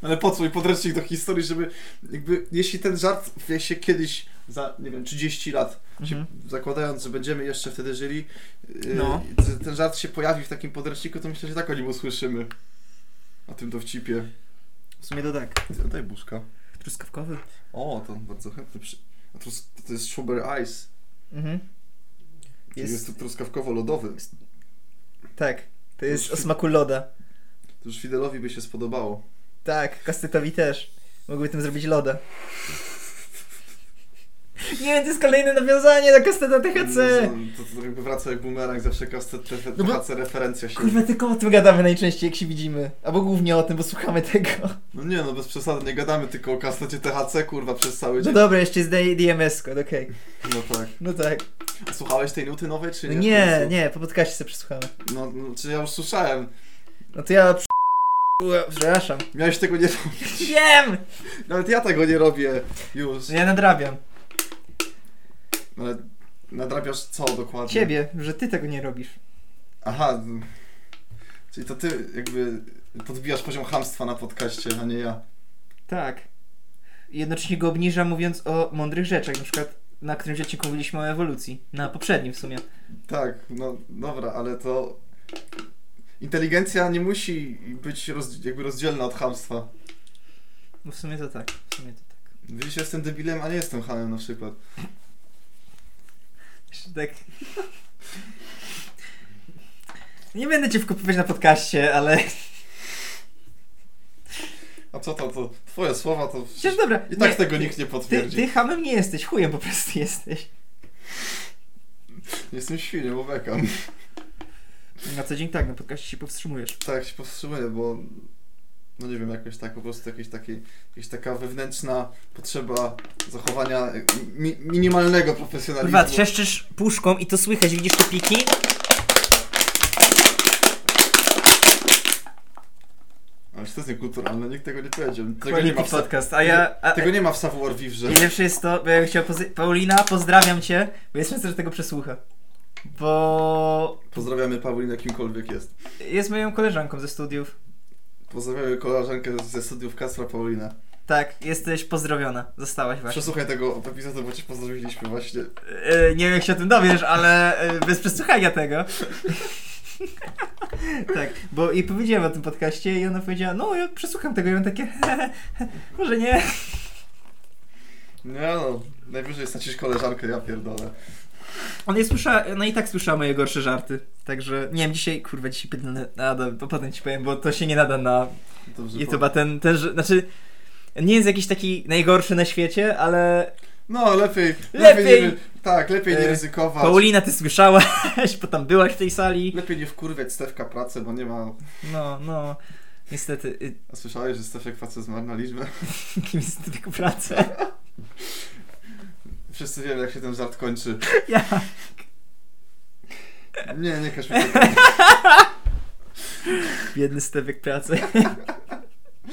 A: No Ale po co mi podręcznik do historii, żeby jakby, jeśli ten żart wie się kiedyś za, nie wiem, 30 lat,
B: Mhm.
A: zakładając, że będziemy jeszcze wtedy żyli, yy,
B: No.
A: że ten żart się pojawi w takim podręczniku, to myślę, że tak o nim usłyszymy. O tym dowcipie.
B: W sumie to tak.
A: Ty, Daj buszka.
B: Truskawkowy.
A: O, to bardzo chętny przy... A to, to jest Schubert Ice.
B: Mhm.
A: Jest,
B: Jest,
A: jest truskawkowo-lodowy.
B: tak. To jest
A: Już-
B: o smaku loda.
A: To już Fidelowi by się spodobało.
B: Tak, Kastytowi też. Mogłyby tym zrobić loda. Nie, to jest kolejne nawiązanie do Kastyta THC.
A: To, to, to jakby wraca jak bumerang, zawsze kastet THC
B: No bo-
A: referencja się...
B: Kurwa, tylko o tym gadamy najczęściej, jak się widzimy. Albo głównie o tym, bo słuchamy tego.
A: No nie no, bez przesady, nie gadamy tylko o kastecie THC, kurwa, przez cały
B: No
A: dzień.
B: dobra, jeszcze jest DMS-kod, okej.
A: No tak.
B: No tak.
A: A Słuchałeś tej nuty nowej, czy
B: No
A: nie?
B: nie, nie, po podcaście sobie przesłuchamy.
A: No, no, czy ja już słyszałem.
B: No to ja... przy- Przepraszam.
A: Miałeś tego nie (laughs) robić.
B: Wiem!
A: Nawet ja tego nie robię. Już. No,
B: Że ja nadrabiam.
A: Ale Nadrabiasz co dokładnie?
B: Ciebie, że ty tego nie robisz.
A: Aha. m. Czyli to ty jakby podbijasz poziom hamstwa na podcaście, a nie ja.
B: Tak. I Jednocześnie go obniża mówiąc o mądrych rzeczach, na przykład na którymś odcinku mówiliśmy o ewolucji. Na poprzednim w sumie.
A: Tak, no dobra, ale to... Inteligencja nie musi być roz, jakby rozdzielna od hamstwa.
B: No w sumie to tak, w sumie to tak.
A: Widzisz, ja jestem debilem, a nie jestem hamem na przykład.
B: Jeszcze tak. Nie będę cię wkopywać na podcaście, ale.
A: A co to, to twoje słowa to...
B: Przecież dobra.
A: I tak
B: nie,
A: tego nikt nie
B: Ty,
A: potwierdzi.
B: ty hamem nie jesteś, chujem po prostu jesteś.
A: Jestem świnią, obekam.
B: Na co dzień tak, na podcaście się powstrzymujesz.
A: Tak, się powstrzymuję, bo no nie wiem, jakoś tak, po prostu jakieś takie, jakaś taka wewnętrzna potrzeba zachowania mi, minimalnego profesjonalizmu.
B: Kurwa, trzeszczysz puszką i to słychać, widzisz te piki?
A: Ale to jest niekulturalne, nikt tego nie powiedział. Tego nie ma
B: Quality
A: w, sa-
B: podcast, a ja... A,
A: tego nie ma w Savoir Vivre.
B: I lepsze jest to, bo ja bym chciał pozy- Paulina, pozdrawiam cię, bo jest szansa, że tego przesłucha. Bo
A: Pozdrawiamy Paulinę, kimkolwiek jest.
B: jest moją koleżanką ze studiów.
A: Pozdrawiamy koleżankę ze studiów Kasra Paulinę.
B: Tak, jesteś pozdrowiona. Zostałaś właśnie.
A: Przesłuchaj tego epizodu, bo cię pozdrowiliśmy właśnie.
B: E, nie wiem, jak się o tym dowiesz, ale e, bez przesłuchania tego. (laughs) tak, bo i powiedziałem o tym podcaście i ona powiedziała, no ja przesłucham tego i mam takie, może nie.
A: Nie no, najwyżej stracisz koleżankę, ja pierdolę.
B: Ona nie słyszała, no i tak słyszała moje gorsze żarty. Także, nie wiem, dzisiaj, kurwa, dzisiaj pytnę, a dobra, to potem ci powiem, bo to się nie nada na
A: Dobrze
B: I
A: powiem.
B: chyba ten, ten, że- znaczy nie jest jakiś taki najgorszy na świecie, ale
A: No, lepiej.
B: Lepiej.
A: lepiej nie, ry- tak, lepiej nie
B: E,
A: ryzykować.
B: Paulina ty słyszałaś, (laughs) bo tam byłaś w tej sali.
A: Lepiej nie wkurwiać Stefka pracy, bo nie ma...
B: No, no, niestety, y, (laughs)
A: A słyszałeś, że Stefek pracę zmarł na liczbę?
B: kim jest tylko praca.
A: Wszyscy wiemy, jak się ten żart kończy.
B: Ja.
A: Nie, nie każ mi tego.
B: Biedny stewek pracy. (laughs)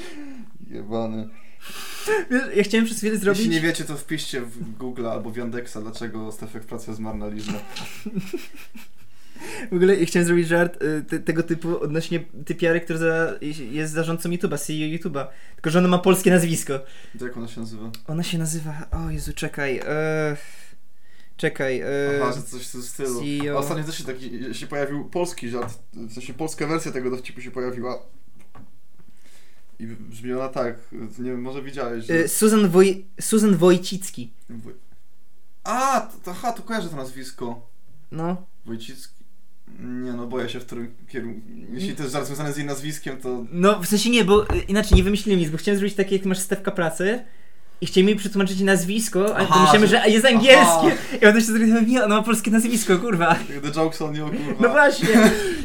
A: Jebany.
B: Wiesz, ja chciałem przez chwilę zrobić...
A: Jeśli nie wiecie, to wpiszcie w Google albo w Yandexa, dlaczego Stefek pracę zmarł na liczbę.
B: W ogóle ja chciałem zrobić żart y, te, tego typu odnośnie typiary, który za, jest zarządcą YouTube'a, CEO YouTube'a. Tylko, że ona ma polskie nazwisko.
A: Jak tak ona się nazywa?
B: Ona się nazywa... O Jezu, czekaj. E... Czekaj. E...
A: Aha, że coś w tym stylu.
B: CEO.
A: A Ostatnio też się taki się pojawił polski żart, w sensie polska wersja tego dowcipu się pojawiła. I brzmi ona tak, nie wiem, może widziałeś, że...
B: y, Susan, Woj... Susan Wojcicki.
A: Woj- A, to, to, aha, to kojarzę to nazwisko.
B: No.
A: Wojcicki. Nie no, boję się, w którym kierunku.
B: Mm.
A: Jeśli to jest żart związany z jej nazwiskiem, to.
B: No, w sensie nie, bo y, inaczej nie wymyśliłem nic, bo chciałem zrobić takie, jak masz stewka pracy i chcieli mi przetłumaczyć nazwisko, ale
A: Aha,
B: to myślałem, że a, jest angielskie.
A: aha.
B: I ona się zrobiła, nie, ona ma polskie nazwisko, kurwa.
A: The jokes on you, kurwa.
B: No właśnie,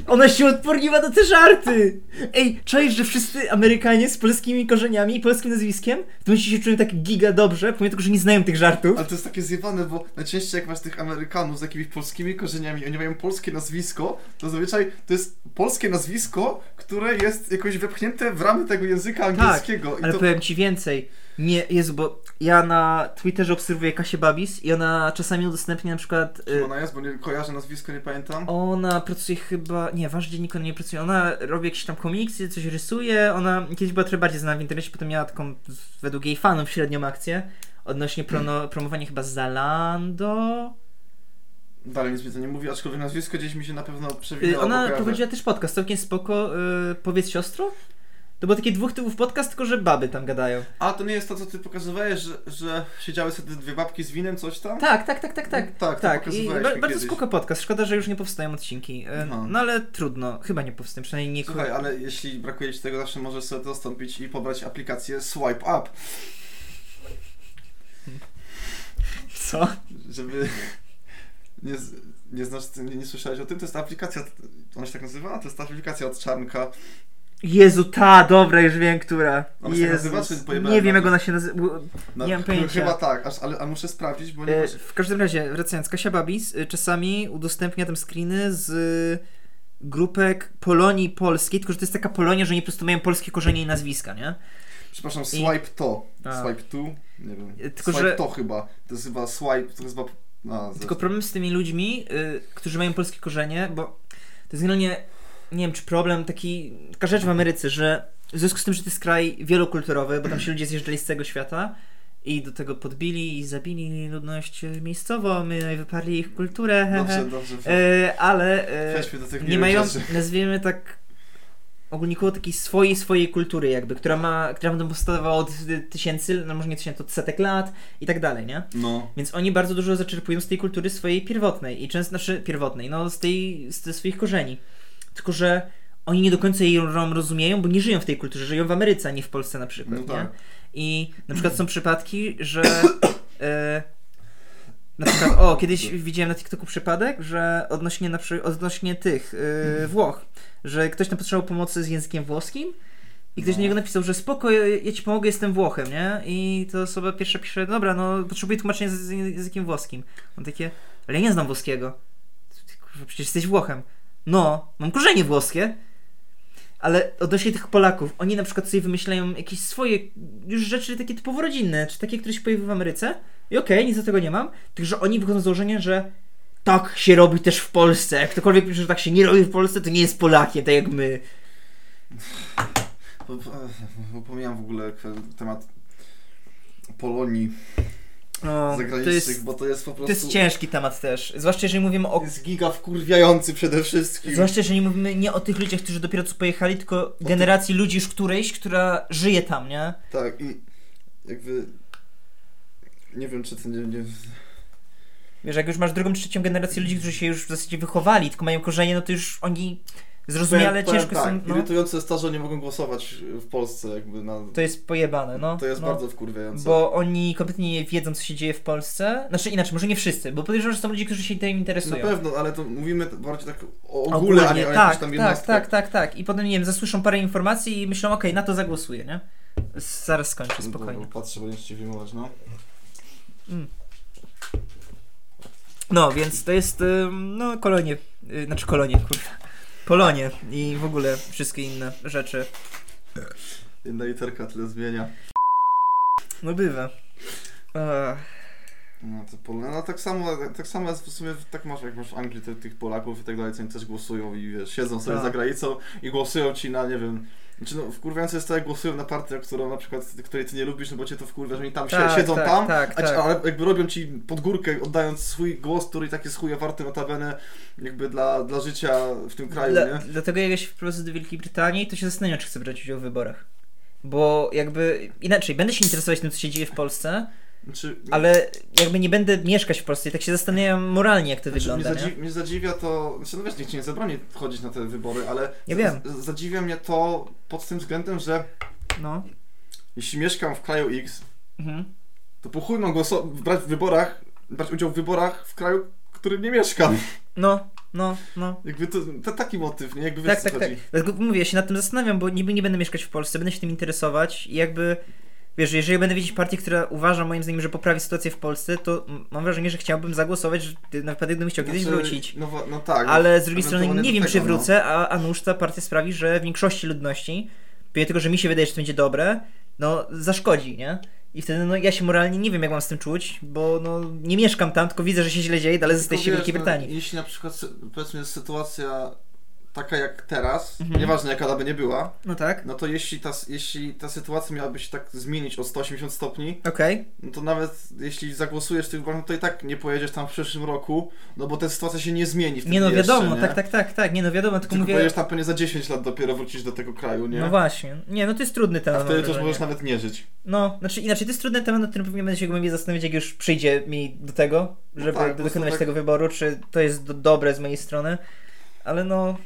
B: ona się odporniła na te żarty. Ej, czujesz, że wszyscy Amerykanie z polskimi korzeniami i polskim nazwiskiem, w tym momencie się czują tak giga dobrze, pomimo tego, że nie znają tych żartów.
A: Ale to jest takie zjebane, bo najczęściej jak masz tych Amerykanów z jakimiś polskimi korzeniami, oni mają polskie nazwisko, to zazwyczaj to jest polskie nazwisko, które jest jakoś wepchnięte w ramy tego języka angielskiego. I
B: Tak, Ale
A: to...
B: powiem ci więcej. Nie, Jezu, bo ja na Twitterze obserwuję Kasię Babis i ona czasami udostępnia na przykład... y,
A: Kim ona jest, bo nie kojarzę nazwisko, nie pamiętam.
B: Ona pracuje chyba. Nie, wasz dziennik ona nie pracuje. Ona robi jakieś tam komiksy, coś rysuje. Ona kiedyś była trochę bardziej znana w internecie, potem miała taką z- według jej fanów średnią akcję. Odnośnie prono, promowania chyba Zalando.
A: Dalej nic mi to nie mówi, aczkolwiek nazwisko gdzieś mi się na pewno
B: Y,
A: przewinęło.
B: ona
A: kojarzę.
B: prowadziła też podcast, całkiem spoko. Y, powiedz siostro? To było takie dwóch typów podcast, tylko że baby tam gadają.
A: A to nie jest to, co ty pokazywałeś, że, że siedziały sobie dwie babki z winem, coś tam?
B: Tak, tak, tak, tak, tak.
A: tak, to
B: I
A: pokazywałeś
B: ba-
A: mi
B: bardzo
A: kiedyś.
B: spoko podcast. Szkoda, że już nie powstają odcinki. Y,
A: No.
B: no. ale trudno. Chyba nie powstają, przynajmniej nie.
A: Słuchaj, ale jeśli brakuje ci tego, zawsze możesz sobie dostąpić i pobrać aplikację Swipe Up,
B: Co?
A: żeby... (laughs) Nie, z- nie znasz, nie, nie słyszałeś o tym? To jest ta aplikacja, ona się tak nazywa? To jest ta aplikacja od Czarnka.
B: Jezu, ta, dobra, już wiem, która.
A: Ona się tak
B: Jezus.
A: nazywa, czy pojebałem
B: nie wiem,
A: na
B: jak
A: to?
B: ona się nazywa.
A: No,
B: Nie mam
A: ch-
B: pojęcia.
A: Chyba tak, aż, ale, ale muszę sprawdzić, bo nie...
B: E, w każdym razie, wracając, Kasia Babis y, czasami udostępnia tam screeny z y, grupek Polonii Polskiej, tylko że to jest taka Polonia, że oni po prostu mają polskie korzenie i nazwiska, nie?
A: Przepraszam, Swipe To.
B: A.
A: Swipe Tu? Nie wiem.
B: E, tylko,
A: swipe
B: że-
A: To chyba. To jest chyba Swipe, to jest chyba No, z-
B: Tylko problem z tymi ludźmi, y, którzy mają polskie korzenie, bo to jest generalnie, nie wiem czy problem, taki, taka rzecz w Ameryce, że w związku z tym, że to jest kraj wielokulturowy, bo tam się ludzie zjeżdżali z całego świata i do tego podbili i zabili ludność y, miejscową, my wyparli ich kulturę,
A: Dobrze,
B: hehe.
A: dobrze.
B: Y, ale y,
A: Przejdźmy do tych
B: nie mają,
A: rzeczy.
B: nazwijmy tak ogólnikowo takiej swojej, swojej kultury jakby, która ma, która będą powstawała od y, tysięcy, no może nie tysięcy, od setek lat i tak dalej, nie?
A: No.
B: Więc oni bardzo dużo zaczerpują z tej kultury swojej pierwotnej i często, znaczy pierwotnej, no z tej, z, ze swoich korzeni. Tylko, że oni nie do końca jej rom- rozumieją, bo nie żyją w tej kulturze, żyją w Ameryce, a nie w Polsce na przykład,
A: No tak.
B: nie? I na przykład są przypadki,
A: (coughs)
B: że e, na przykład, o, kiedyś widziałem na TikToku przypadek, że odnośnie, na przy, odnośnie tych e, Włoch, że ktoś tam potrzebował pomocy z językiem włoskim i ktoś
A: No.
B: do niego napisał, że spoko, ja, ja ci pomogę, jestem Włochem, nie? I ta osoba pierwsza pisze, dobra, no potrzebuję tłumaczenia z, z językiem włoskim. On takie, ale ja nie znam włoskiego. Ty, Kurwa, przecież jesteś Włochem. No, mam korzenie włoskie. Ale odnośnie tych Polaków, oni na przykład sobie wymyślają jakieś swoje już rzeczy takie typowo rodzinne, czy takie, które się pojawiły w Ameryce. I okej, nic do tego nie mam. Tylko, że oni wychodzą z założenia, że tak się robi też w Polsce. Jak ktokolwiek pisze, że tak się nie robi w Polsce, to nie jest Polakiem, tak jak my.
A: Po- po- Pomijam w ogóle kwe- temat Polonii
B: No, to
A: zagranicznych,
B: jest,
A: bo to jest po prostu...
B: to jest ciężki temat też. Zwłaszcza jeżeli mówimy o.
A: jest giga wkurwiający przede wszystkim.
B: Zwłaszcza jeżeli mówimy nie o tych ludziach, którzy dopiero co pojechali, tylko generacji ludzi już którejś, która żyje tam, nie?
A: Tak, i jakby... Nie wiem, czy to nie... nie...
B: Wiesz, jak już masz drugą, trzecią generację ludzi, którzy się już w zasadzie wychowali, tylko mają korzenie, no to już oni zrozumiale
A: Powiem- powiem
B: ciężko
A: tak,
B: są. No,
A: Irytujące jest to, że nie mogą głosować w Polsce jakby na...
B: to jest pojebane, no.
A: To jest
B: no.
A: bardzo wkurwiające.
B: Bo oni kompletnie nie wiedzą, co się dzieje w Polsce. Znaczy inaczej, może nie wszyscy, bo podejrzewam, że są ludzie, którzy się tym
A: Na
B: interesują.
A: pewno, ale to mówimy t- bardziej tak o ogóle,
B: Ogólnie,
A: a nie o
B: tak,
A: jakiejś tam
B: tak,
A: jednostce.
B: tak, tak, tak. I potem, nie wiem, zasłyszą parę informacji i myślą, okej, na to zagłosuję, nie? Zaraz skończę, spokojnie.
A: No Dobra, patrzę, bo nie chcę ci wyjmować, no.
B: No, więc to jest, ym, no, kolonie, y, znaczy kolonie, kurwa. Polonie i w ogóle wszystkie inne rzeczy.
A: Jedna literka tyle zmienia.
B: No bywa. Ech.
A: No to Pol- no, tak samo, tak samo jest w sumie, tak masz jak masz w Anglii te, tych Polaków i tak dalej, co oni też głosują i wiesz, siedzą sobie
B: Tak.
A: za granicą i głosują ci na, nie wiem, znaczy no wkurwiające jest to, jak głosują na partię, którą na przykład, której ty nie lubisz, no bo cię to wkurwia, że oni tam
B: Tak,
A: si- siedzą
B: tak,
A: tam,
B: tak,
A: a, ci-
B: tak.
A: ale jakby robią ci pod górkę, oddając swój głos, który i tak jest chuja warty notabene jakby dla, dla życia w tym kraju,
B: Dla,
A: nie?
B: dlatego jak ja się wprowadzę do Wielkiej Brytanii, to się zastanawiam, czy chcę brać udział w wyborach. Bo jakby inaczej, będę się interesować tym, co się dzieje w Polsce,
A: Znaczy,
B: ale jakby nie będę mieszkać w Polsce i tak się zastanawiam moralnie, jak to wygląda.
A: znaczy, mnie, zadzi-
B: Nie?
A: mnie zadziwia to, znaczy, no wiesz, nikt ci nie zabroni chodzić na te wybory, ale
B: Ja wiem.
A: z- zadziwia mnie to pod tym względem, że
B: No.
A: jeśli mieszkam w kraju X,
B: Mhm.
A: to po chuj mam głoso- brać w wyborach, brać udział w wyborach w kraju, w którym nie
B: (laughs)
A: mieszkam.
B: No, no, no.
A: Jakby to, to taki motyw, nie? Jakby wiesz,
B: Tak,
A: co
B: tak, tak.
A: chodzi.
B: Dlatego mówię, ja się nad tym zastanawiam, bo niby nie będę mieszkać w Polsce, będę się tym interesować i jakby, wiesz, jeżeli będę widzieć partię, która uważa moim zdaniem, że poprawi sytuację w Polsce, to m- mam wrażenie, że chciałbym zagłosować, że na wypadek gdybym chciał kiedyś
A: Znaczy,
B: wrócić.
A: No, wa- no tak.
B: Ale z drugiej strony
A: ewentualnie
B: nie
A: do
B: wiem,
A: tego, no.
B: czy wrócę, a, a nuż ta partia sprawi, że w większości ludności, pomimo tego, że mi się wydaje, że to będzie dobre, no zaszkodzi, nie? I wtedy no ja się moralnie nie wiem, jak mam z tym czuć, bo no nie mieszkam tam, tylko widzę, że się źle dzieje, ale
A: No.
B: zostaję się w
A: Tylko
B: Wielkiej
A: wiesz,
B: Brytanii.
A: No, jeśli na przykład, sy- powiedzmy, jest sytuacja taka jak teraz,
B: Mhm.
A: nieważne jaka ona by nie była,
B: No tak?
A: no to jeśli ta, s- jeśli ta sytuacja miałaby się tak zmienić o 180 stopni,
B: Okej.
A: no to nawet jeśli zagłosujesz w tych wyborach, no to i tak nie pojedziesz tam w przyszłym roku, no bo ta sytuacja się nie zmieni wtedy
B: Nie no
A: jeszcze,
B: wiadomo,
A: nie?
B: tak, tak, tak, tak, nie no wiadomo, tylko,
A: Tylko
B: mówię.
A: pojedziesz tam pewnie za 10 lat dopiero wrócisz do tego kraju, nie?
B: No właśnie. Nie, no to jest trudny temat.
A: A wtedy
B: mam
A: to już
B: wrażenie.
A: możesz nawet nie żyć.
B: No, znaczy inaczej, to jest trudny temat, nad którym pewnie będę się głębiej zastanawiać, jak już przyjdzie mi do tego,
A: No
B: żeby
A: tak, po prostu
B: dokonać
A: tak-
B: tego wyboru, czy to jest do, dobre z mojej strony, ale no,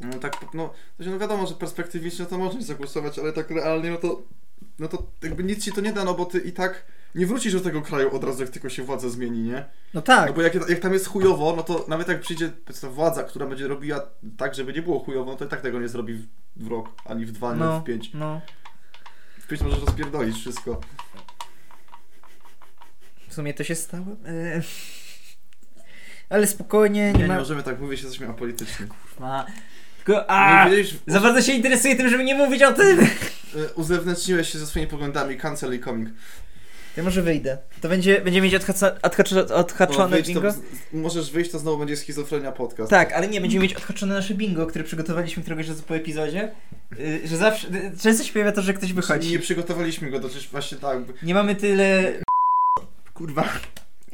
A: No tak, no, to się, no wiadomo, że perspektywicznie to możesz zagłosować, ale tak realnie no to, no to jakby nic ci to nie da, no bo ty i tak nie wrócisz do tego kraju od razu, jak tylko się władza zmieni, nie?
B: no tak.
A: No bo jak, jak tam jest chujowo, no to nawet jak przyjdzie powiedzmy, władza, która będzie robiła tak, żeby nie było chujowo, no to i tak tego nie zrobi w, w rok, ani w dwa, ani
B: No,
A: w pięć.
B: no,
A: W pięć możesz rozpierdolić wszystko.
B: w sumie to się stało. E, Ale spokojnie,
A: Nie,
B: nie,
A: nie
B: ma...
A: możemy tak mówić, jesteśmy apolityczni.
B: ma... Tylko,
A: Nie
B: a,
A: wiedzieliśmy-
B: Za bardzo się interesuję tym, żeby nie mówić o tym!
A: e, Y, Uzewnętrzniłeś się ze swoimi poglądami, cancel i coming.
B: Ja może wyjdę. To będzie, będzie mieć odhaca, odhacz,
A: No,
B: odhaczone
A: wyjdź, to,
B: bingo?
A: z- możesz wyjść, to znowu będzie schizofrenia podcast.
B: Tak, ale nie, będziemy mieć odhaczone nasze bingo, które przygotowaliśmy któregoś razu po epizodzie. Yy, że zawsze, yy, często się pojawia to, że ktoś
A: Nie
B: wychodzi.
A: przygotowaliśmy go, to też właśnie tak.
B: Nie mamy tyle...
A: Kurwa.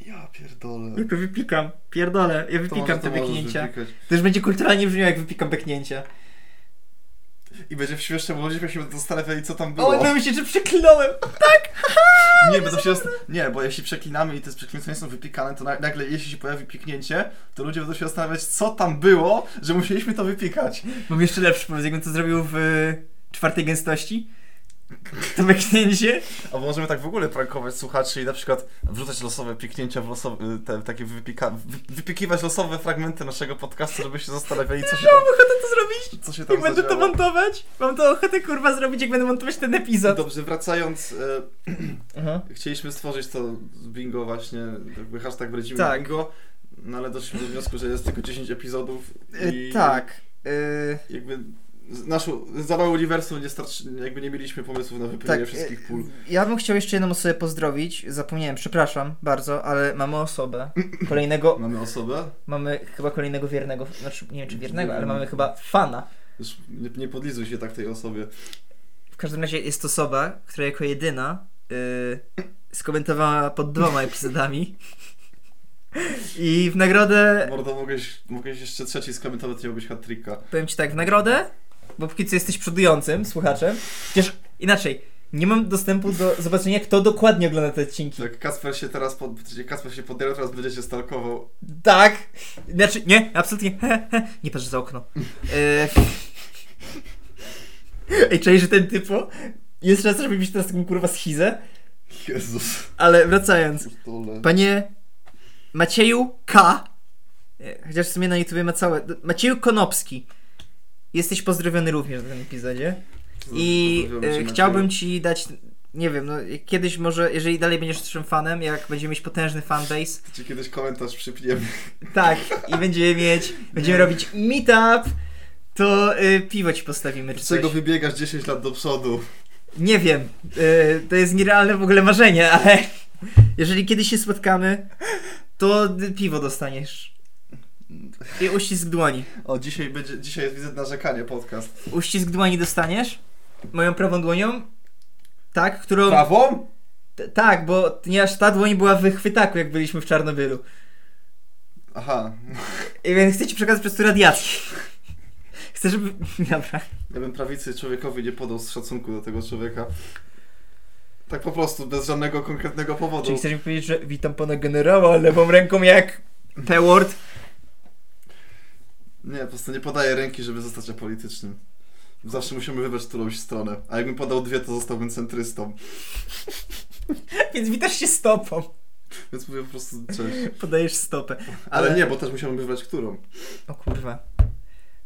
A: Ja pierdolę.
B: Jak to wypikam. Pierdolę, ja
A: To
B: wypikam
A: może- to
B: te
A: możesz
B: beknięcia.
A: wypikać.
B: Też będzie kulturalnie brzmiało, jak wypikam beknięcia.
A: I będzie śmieszne, bo ludzie się będą zastanawiali, co tam było.
B: O, bałem się, że przekląłem.
A: nie, bo to się, nie, bo jeśli przeklinamy i te przeklinania są wypikane, to na- nagle jeśli się pojawi piknięcie, to ludzie będą się zastanawiać, co tam było, że musieliśmy to wypikać.
B: Mam jeszcze lepszy pomysł, jakbym to zrobił w y, czwartej gęstości. To beknięcie.
A: Albo możemy tak w ogóle prankować słuchaczy i na przykład wrzucać losowe piknięcia w losowe, te, takie wypika, wy, wypikiwać losowe fragmenty naszego podcastu, żeby się zastanawiali, co się
B: Mam
A: tam,
B: ochotę to zrobić.
A: co się tam
B: Jak będę to
A: zadziało.
B: montować? Mam to ochotę kurwa zrobić, jak będę montować ten epizod.
A: Dobrze, wracając, e,
B: Aha.
A: chcieliśmy stworzyć to z bingo właśnie, jakby hashtag wrócimy
B: Tak.
A: bingo, no ale doszliśmy do wniosku, że jest tylko 10 epizodów i
B: Y, tak. Y,
A: jakby z- naszą, za mało uniwersum nie starczy, jakby nie mieliśmy pomysłów na wypełnienie
B: tak.
A: wszystkich
B: y,
A: pól.
B: Ja bym chciał jeszcze jedną osobę pozdrowić. Zapomniałem, przepraszam bardzo, ale mamy osobę. Kolejnego,
A: Mamy osobę?
B: mamy chyba kolejnego wiernego, znaczy nie wiem czy wiernego, ale mamy chyba fana.
A: Już nie, nie podlizuj się tak tej osobie.
B: W każdym razie jest osoba, która jako jedyna y, skomentowała pod dwoma epizodami. I w nagrodę,
A: Mordo, mogłeś, mogłeś jeszcze trzeci skomentować, nie miałbyś hat-tricka.
B: powiem ci tak, w nagrodę, bo póki co jesteś przodującym słuchaczem. Chociaż inaczej, nie mam dostępu do zobaczenia, kto dokładnie ogląda te odcinki.
A: Tak, Kasper się teraz, pod, Kasper się podjęła, teraz będzie cię stalkował.
B: Tak! Znaczy, nie, absolutnie. He, he. Nie patrz za okno. E... Ej, czaj, że ten typu. Jest szansa, żeby mieć teraz taką kurwa schizę,
A: Jezus.
B: ale wracając.
A: pierdolę.
B: Panie Macieju K. E, Chociaż w sumie na YouTubie ma całe. Macieju Konopski. Jesteś pozdrowiony również w tym epizodzie. I
A: Pozdrawiamy cię,
B: e,
A: Macieju.
B: chciałbym ci dać. Nie wiem, no kiedyś może, jeżeli dalej będziesz naszym fanem, jak będziemy mieć potężny fanbase,
A: Czy kiedyś komentarz przypniemy?
B: Tak, i będziemy mieć, będziemy robić meetup, to y, piwo ci postawimy czy
A: Z
B: coś.
A: czego wybiegasz 10 lat do przodu?
B: Nie wiem, y, to jest nierealne w ogóle marzenie, ale jeżeli kiedyś się spotkamy, to y, piwo dostaniesz. I uścisk dłoni.
A: O, dzisiaj będzie, dzisiaj jest widzę narzekanie podcast.
B: Uścisk dłoni dostaniesz moją prawą dłonią, tak, którą...
A: Prawą?
B: T- tak, bo ponieważ ta dłoń była w chwytaku, jak byliśmy w Czarnobylu.
A: Aha.
B: I więc chcę ci przekazać przez to radiację. (laughs) Chcę, żeby... (laughs) Dobra.
A: Ja bym prawicy człowiekowi nie podał z szacunku do tego człowieka. Tak po prostu, bez żadnego konkretnego powodu.
B: Czyli chcesz mi powiedzieć, że witam pana generała lewą ręką jak Peword?
A: Nie, po prostu nie podaję ręki, żeby zostać apolitycznym. Zawsze musimy wybrać którąś stronę. A jakbym podał dwie, to zostałbym centrystą.
B: (laughs) Więc witasz się stopą.
A: Więc mówię po prostu cześć. (laughs)
B: Podajesz stopę.
A: Ale, nie, bo też musiałbym wybrać którą.
B: O kurwa.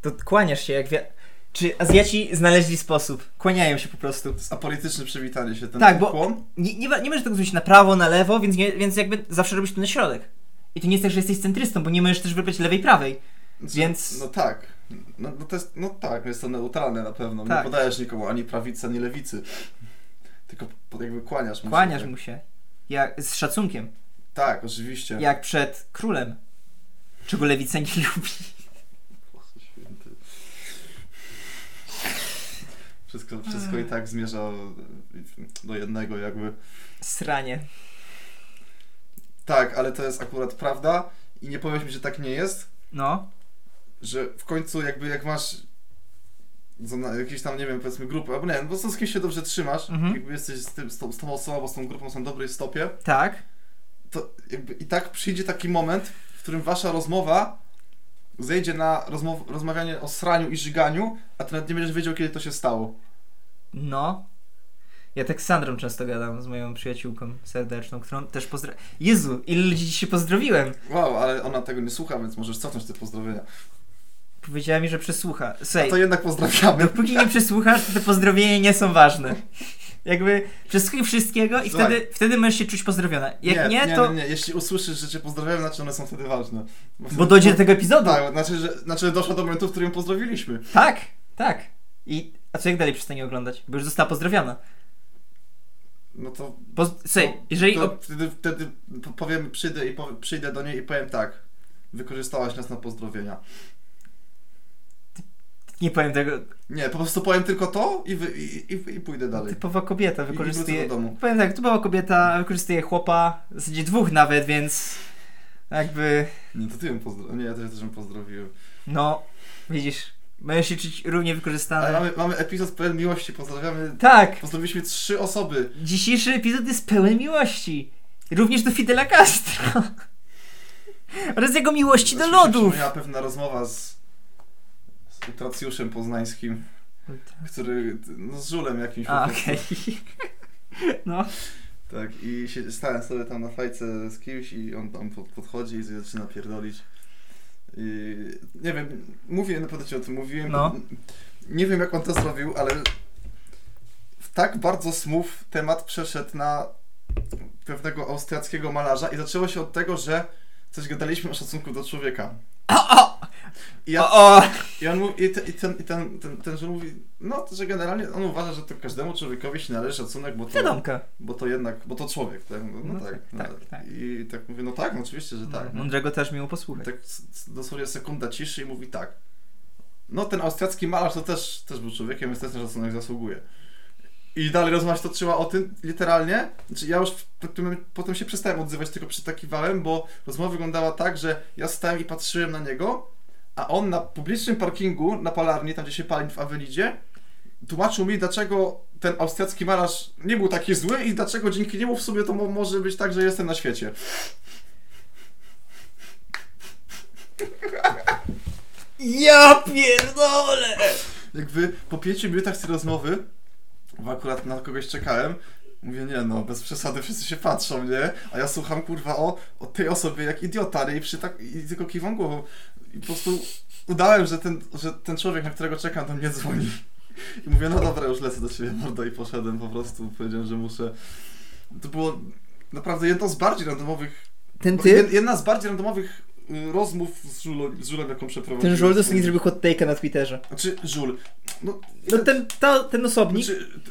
B: To kłaniasz się jak... Wi- Czy Azjaci znaleźli sposób? Kłaniają się po prostu.
A: To jest apolityczne przywitanie się. Ten
B: Tak, bo-
A: ukłon.
B: Nie, nie, wa- nie możesz tego zrobić na prawo, na lewo, więc, nie, więc jakby zawsze robisz to na środek. I to nie jest tak, że jesteś centrystą, bo nie możesz też wybrać lewej, prawej.
A: Znaczy,
B: Więc-
A: No tak. No, no to jest, no tak, jest to neutralne na pewno.
B: Tak.
A: Nie podajesz nikomu ani prawicy, ani lewicy. Tylko po- jakby kłaniasz mu się,
B: Kłaniasz
A: tak.
B: mu się. Jak, z szacunkiem.
A: Tak, oczywiście.
B: Jak przed królem. Czego lewica nie (laughs) lubi.
A: Boże święty. Wszystko, wszystko i tak zmierza do jednego jakby.
B: Sranie.
A: Tak, ale to jest akurat prawda i nie powiesz mi, że tak nie jest,
B: No.
A: że w końcu jakby jak masz za- na- jakieś tam, nie wiem, powiedzmy grupę, albo nie wiem, bo z kimś się dobrze trzymasz,
B: Mhm.
A: jakby jesteś z, tym, z, tą, z tą osobą, albo z tą grupą są w dobrej stopie,
B: Tak.
A: to jakby i tak przyjdzie taki moment, w którym wasza rozmowa zejdzie na rozmow- rozmawianie o sraniu i żyganiu, a ty nawet nie będziesz wiedział, kiedy to się stało.
B: No. Ja tak z Sandrą często gadam, z moją przyjaciółką serdeczną, którą też pozdrawiam. Jezu, ile ludzi dzisiaj pozdrowiłem!
A: Wow, ale ona tego nie słucha, więc możesz cofnąć te pozdrowienia.
B: Powiedziała mi, że przesłucha.
A: A
B: Słuchaj,
A: to jednak pozdrawiamy.
B: dopóki No, nie przesłuchasz, to te pozdrowienia nie są ważne. Jakby przesłuchaj wszystkiego i
A: Słuchaj.
B: wtedy, wtedy możesz się czuć pozdrowiona. Jak nie,
A: nie,
B: to...
A: nie, nie. Jeśli usłyszysz, że cię pozdrawiamy, znaczy one są wtedy ważne. wtedy-
B: Bo dojdzie do tego epizodu.
A: Tak, znaczy, że, znaczy że doszło do momentu, w którym pozdrowiliśmy.
B: Tak, tak. I... A co jak dalej przestanie oglądać? Bo już została pozdrowiona.
A: No to.
C: Bo, słuchaj,
A: to-
C: jeżeli...
A: No, to
C: ob-
A: wtedy, wtedy p- powiem, przyjdę, i powiem, przyjdę do niej i powiem tak. Wykorzystałaś nas na pozdrowienia.
B: Nie powiem tego.
A: Nie, po prostu powiem tylko to i, wy, i, i, i pójdę dalej.
B: Typowa kobieta
A: I
B: wykorzystuje.
A: wrócę do domu.
B: Powiem tak, typowa kobieta wykorzystuje chłopa, w zasadzie dwóch nawet, więc jakby.
A: Nie, to ty ją pozdrowiłem. Nie, ja też, też ją pozdrowiłem.
B: No, widzisz, mają się czuć równie
A: Ale
B: wykorzystane.
A: mamy, mamy epizod pełen miłości. Pozdrawiamy.
B: Tak!
A: Pozdrowiliśmy trzy osoby.
B: Dzisiejszy epizod jest pełen miłości. Również do Fidela Castro. Oraz jego miłości do
A: Znaczy, mi się
B: lodów.
A: przypomniała pewna rozmowa z, z Utracjuszem Poznańskim, który. No, z żulem jakimś. po
B: A,
A: prostu.
B: okej. No.
A: Tak, i się, stałem sobie tam na fajce z kimś i on tam pod, podchodzi i zaczyna pierdolić. I, nie wiem, mówię, na pewno ci o tym mówiłem.
B: No.
A: Nie wiem, jak on to zrobił, ale w tak bardzo smooth temat przeszedł na pewnego austriackiego malarza i zaczęło się od tego, że coś gadaliśmy o szacunku do człowieka. I ja
B: O, o!
A: i on mówi, i, te, i, ten, i ten, ten, ten, że mówi, no, że generalnie on uważa, że to każdemu człowiekowi się należy szacunek, bo to,
B: Wiadomka.
A: bo to jednak, bo to człowiek, tak? No,
B: No
A: tak,
B: tak,
A: no.
B: tak, Mhm. tak.
A: I tak mówię, no tak, no oczywiście, że tak. No.
B: Mądrego też miło posłuchać.
A: Tak s- s- dosłownie sekunda ciszy i mówi tak. No ten austriacki malarz to też, też był człowiekiem, więc też na szacunek zasługuje. I dalej rozmowa się toczyła o tym, literalnie. Znaczy, ja już po tym, potem się przestałem odzywać, tylko przytakiwałem, bo rozmowa wyglądała tak, że ja stałem i patrzyłem na niego, a on na publicznym parkingu, na palarni, tam gdzie się pali w Awelidzie, tłumaczył mi, dlaczego ten austriacki malarz nie był taki zły i dlaczego dzięki niemu w sobie to mo- może być tak, że jestem na świecie.
B: Ja pierdolę!
A: jakby po pięciu minutach tej rozmowy, bo akurat na kogoś czekałem, mówię, nie no, bez przesady wszyscy się patrzą, nie? A ja słucham, kurwa, o, o tej osobie jak idiota, nie? I, przy tak, i tylko kiwam głową. I po prostu udałem, że ten, że ten człowiek, na którego czekam, do mnie dzwoni. I mówię, no dobra, już lecę do ciebie, mordo, i poszedłem po prostu, powiedziałem, że muszę. To było naprawdę jedno z bardziej randomowych,
B: Ten
A: no,
B: typ,
A: jed- jedna z bardziej randomowych y, rozmów z Żulem, z Żulem jaką przeprowadziłem.
B: ten żołd nie zrobił hot take'a na Twitterze.
A: Znaczy, Żul, no...
B: No ten, to, ten osobnik.
A: Znaczy, t-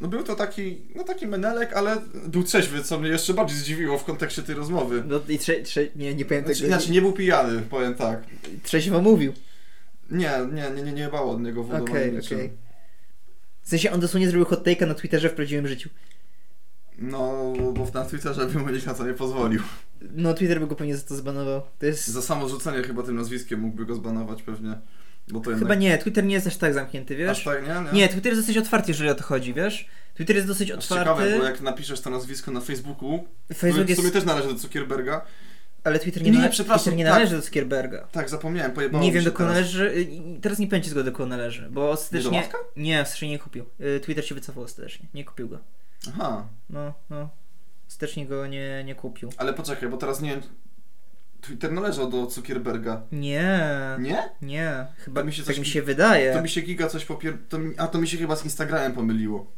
A: no był to taki, no taki menelek, ale był trzeźwy, co mnie jeszcze bardziej zdziwiło w kontekście tej rozmowy.
B: No i trze, trze, nie, nie pamiętam
A: Znaczy,
B: znaczy,
A: inaczej, nie był pijany, powiem tak.
B: Trzeźwo mówił.
A: Nie, nie, nie, nie, nie bało od niego wodą
B: Okej,
A: ani
B: okej.
A: niczym.
B: W sensie on dosłownie zrobił hot take'a na Twitterze w prawdziwym życiu.
A: No, bo na Twitterze bym mu nikt na to nie pozwolił.
B: No Twitter by go pewnie za to zbanował. To jest...
A: Za samo rzucenie chyba tym nazwiskiem mógłby go zbanować pewnie, bo to
B: Chyba
A: jednak...
B: nie, Twitter nie jest aż tak zamknięty, wiesz?
A: Aż tak, nie? Nie,
B: Nie, Twitter jest dosyć otwarty, jeżeli o to chodzi, wiesz? Twitter jest dosyć
A: Aż
B: otwarty.
A: ciekawe, bo jak napiszesz to nazwisko na Facebooku,
B: Facebook
A: który w
B: jest...
A: sumie też należy do Zuckerberga.
B: Ale Twitter nie,
A: Nie,
B: nale...
A: przepraszam,
B: Twitter nie
A: tak.
B: należy do Zuckerberga.
A: Tak, zapomniałem, pojebało
B: nie
A: mi
B: wiem
A: się tak.
B: do kogo
A: teraz.
B: należy. y, Teraz nie pamięci go do kogo należy, bo
A: Nie do
B: ostatecznie.
A: Maska?
B: Nie, ostatecznie nie kupił. Y, Twitter się wycofał ostatecznie. Nie kupił go.
A: Aha.
B: No, no. Ostatecznie go nie, nie kupił.
A: Ale poczekaj, bo teraz nie wiem. Twitter należał do Zuckerberga.
B: Nie.
A: Nie?
B: Nie. Chyba
A: To mi się
B: tak
A: coś-
B: mi się wydaje.
A: To mi się giga coś popier... To mi... A to mi się chyba z Instagramem pomyliło.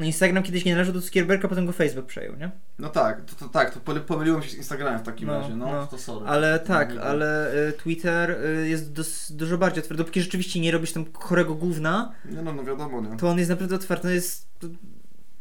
B: Instagram kiedyś nie należał do Zuckerberga, potem go Facebook przejął, nie?
A: No tak, to, to tak, to poly- pomyliło mi się z Instagramem w takim
B: No,
A: razie, no,
B: no.
A: to sorry.
B: Ale tak,
A: No,
B: ale y, Twitter y, jest dos, dużo bardziej otwarty. Dopóki rzeczywiście nie robisz tam chorego gówna,
A: Nie no, no wiadomo, nie.
B: to on jest naprawdę otwarty. On jest.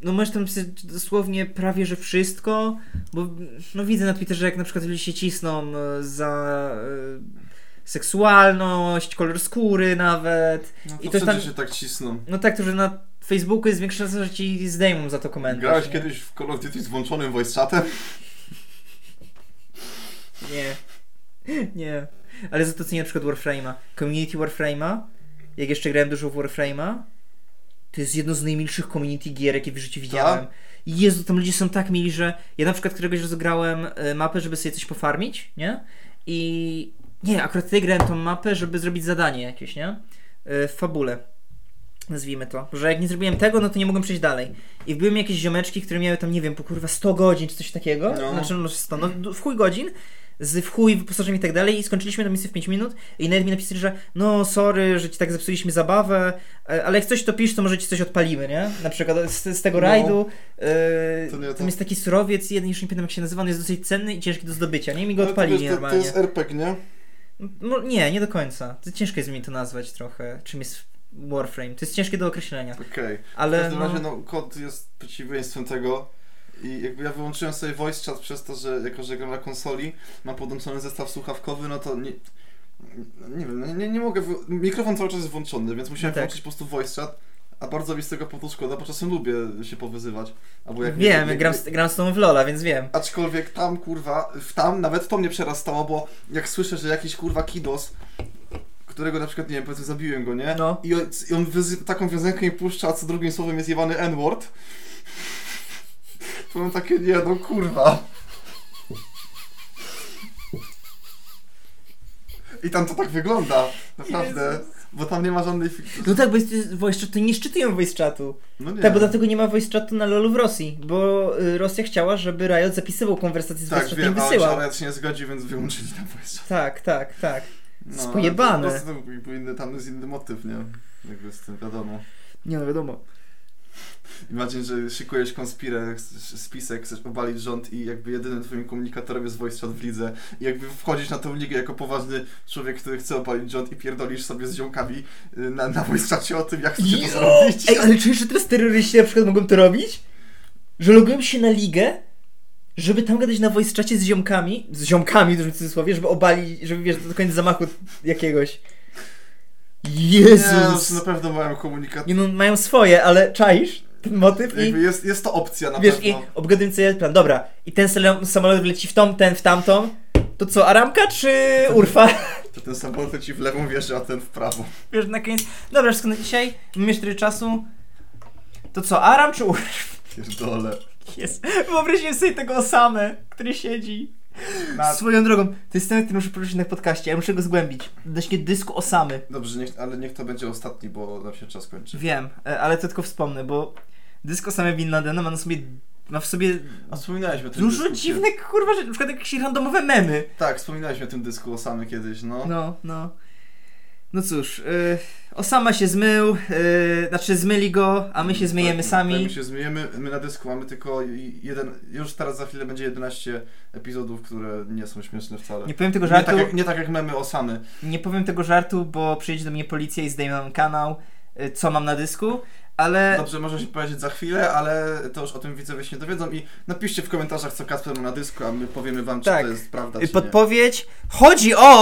B: No masz tam sy- dosłownie prawie że wszystko, bo no widzę na Twitterze, jak na przykład ludzie się cisną y, za y, seksualność, kolor skóry nawet.
A: No, to
B: i
A: I
B: to
A: wszędzie
B: tam-
A: się tak cisną.
B: No tak, to że na Facebooku jest większa szansa, że ci zdejmą za to komentarz.
A: Grałeś
B: nie?
A: kiedyś w Call of Duty z włączonym voice chatem?
B: Nie. (laughs) Nie. Ale za to cenię na przykład Warframe'a. Community Warframe'a, jak jeszcze grałem dużo w Warframe'a, to jest jedno z najmilszych community gier, jakie w życiu widziałem. I Jezu, tam ludzie są tak mili, że ja na przykład któregoś razu grałem y, mapę, żeby sobie coś pofarmić, nie? I nie, akurat tutaj grałem tą mapę, żeby zrobić zadanie jakieś, nie? Y, W fabule. Nazwijmy to. Że jak nie zrobiłem tego, no to nie mogłem przejść dalej. I były jakieś ziomeczki, które miały tam, nie wiem, po kurwa 100 godzin czy coś takiego.
A: No.
B: Znaczy, no 100, no d- w chuj godzin z w chuj wyposażeniem i tak dalej i skończyliśmy na misję w 5 minut i nawet mi napisali, że no sorry, że ci tak zepsuliśmy zabawę, e, ale jak coś to pisz, to może ci coś odpalimy, nie? Na przykład z, z tego
A: No.
B: rajdu. e,
A: To nie, to-
B: Tam jest taki surowiec, jeden już nie pamiętam jak się nazywa, on jest dosyć cenny i ciężki do zdobycia, nie? I Mi go
A: No, to, wiesz,
B: odpalili
A: to, to
B: normalnie.
A: jest RPG, nie?
B: No, nie, nie do końca. To ciężko jest mi to nazwać trochę, czym jest Warframe. To jest ciężkie do określenia.
A: Okej. W
B: Ale
A: każdym razie,
B: no,
A: no, kod jest przeciwieństwem tego. I jakby ja wyłączyłem sobie voice chat przez to, że jako, że gram na konsoli, mam podłączony zestaw słuchawkowy, no to nie... Nie wiem, no nie, nie mogę... wy- Mikrofon cały czas jest włączony, więc musiałem
B: No tak.
A: włączyć po prostu voice chat. A bardzo mi z tego powodu szkoda, bo czasem lubię się powyzywać. Albo jak
B: wiem,
A: jak-
B: gram, z- gram z tą w Lola, więc wiem.
A: Aczkolwiek tam, kurwa, w tam nawet to mnie przerastało, bo jak słyszę, że jakiś, kurwa, kidos, którego na przykład, nie wiem, powiedzmy zabiłem go, nie?
B: No.
A: I on, i on wyzy- taką wiązankę mi puszcza, a co drugim słowem jest jewany n-word. To mam takie, nie no, kurwa. I tam to tak wygląda, naprawdę. Bo tam nie ma żadnej fikcji.
B: No tak, bo jest voice chat, to nie szczytują voice chatu.
A: No nie.
B: Tak, bo dlatego nie ma voice chatu na LoLu w Rosji, bo y, Rosja chciała, żeby Riot zapisywał konwersacje z
A: tak,
B: voice chatem
A: wiem,
B: i
A: ale
B: wysyłał.
A: Czarnet się nie zgodził, więc wyłączyli tam voice
B: Tak, tak, tak.
A: No,
B: Jest
A: ale
B: pojebane.
A: To po prostu był- był inny, tam jest inny motyw, nie? Jakby z tym wiadomo.
B: Nie no, wiadomo.
A: Imagine, że szykujesz konspirę, chcesz- spisek, chcesz obalić rząd i jakby jedynym twoim komunikatorem jest voice chat w lidze. I jakby wchodzisz na tą ligę jako poważny człowiek, który chce obalić rząd i pierdolisz sobie z ziomkami y, na, na voice chacie o tym, jak chcecie to
B: Jo!
A: zrobić.
B: Ej, ale czujesz, że teraz terroryści na przykład mogą to robić? Że logują się na ligę, żeby tam gadać na voice czacie z ziomkami, z ziomkami w dużym cudzysłowie, żeby obali, żeby wiesz, do koniec zamachu jakiegoś.
A: Nie, no, to
B: Jezus!
A: na pewno mają komunikat.
B: Nie no, mają swoje, ale czaisz ten motyw i
A: Jakby jest, jest to opcja na
B: wiesz, i
A: pewno.
B: obgadują sobie plan. Dobra, i ten sele- samolot leci w tą, ten w tamtą. To co, Aramka czy Urfa?
A: To ten samolot ci w lewą wierzy, a ten w prawo.
B: (laughs) Wiesz, na koniec. Dobra, wszystko na dzisiaj. Mamy jeszcze trochę czasu. To co, Aram czy Urfa?
A: Pierdolę.
B: (laughs) Jest. Wyobraźcie sobie tego Osamę, który siedzi.
A: Na...
B: Swoją drogą, to jest ten, który muszę poruszyć na podcaście, ja muszę go zgłębić. Odnośnie dysku Osamy.
A: Dobrze, niech, ale niech to będzie ostatni, bo nam się czas kończy.
B: Wiem, e, ale to tylko wspomnę, bo dysk Osamy Bin Ladena ma, na sobie, ma w sobie
A: A wspominaliśmy o tym
B: dużo
A: dyskusie.
B: dziwnych, kurwa, rzeczy, na przykład jakieś randomowe memy.
A: Tak, wspominaliśmy o tym dysku o samy kiedyś, no.
B: No, no. No cóż, y, Osama się zmył, y, znaczy zmyli go, a my się zmyjemy
A: Tak, My
B: sami.
A: się zmyjemy, my na dysku mamy tylko jeden, już teraz za chwilę będzie 11 epizodów, które nie są śmieszne wcale.
B: Nie powiem tego
A: nie,
B: żartu.
A: tak, jak, nie tak jak memy o samy.
B: Nie powiem tego żartu, bo przyjdzie do mnie policja i zdejmie nam kanał, y, co mam na dysku, ale
A: Dobrze, może się powiedzieć za chwilę, ale to już o tym widzowie się dowiedzą i napiszcie w komentarzach, co Kasper ma na dysku, a my powiemy wam, czy
B: Tak.
A: to jest prawda,
B: y,
A: czy no, nie.
B: podpowiedź. Chodzi o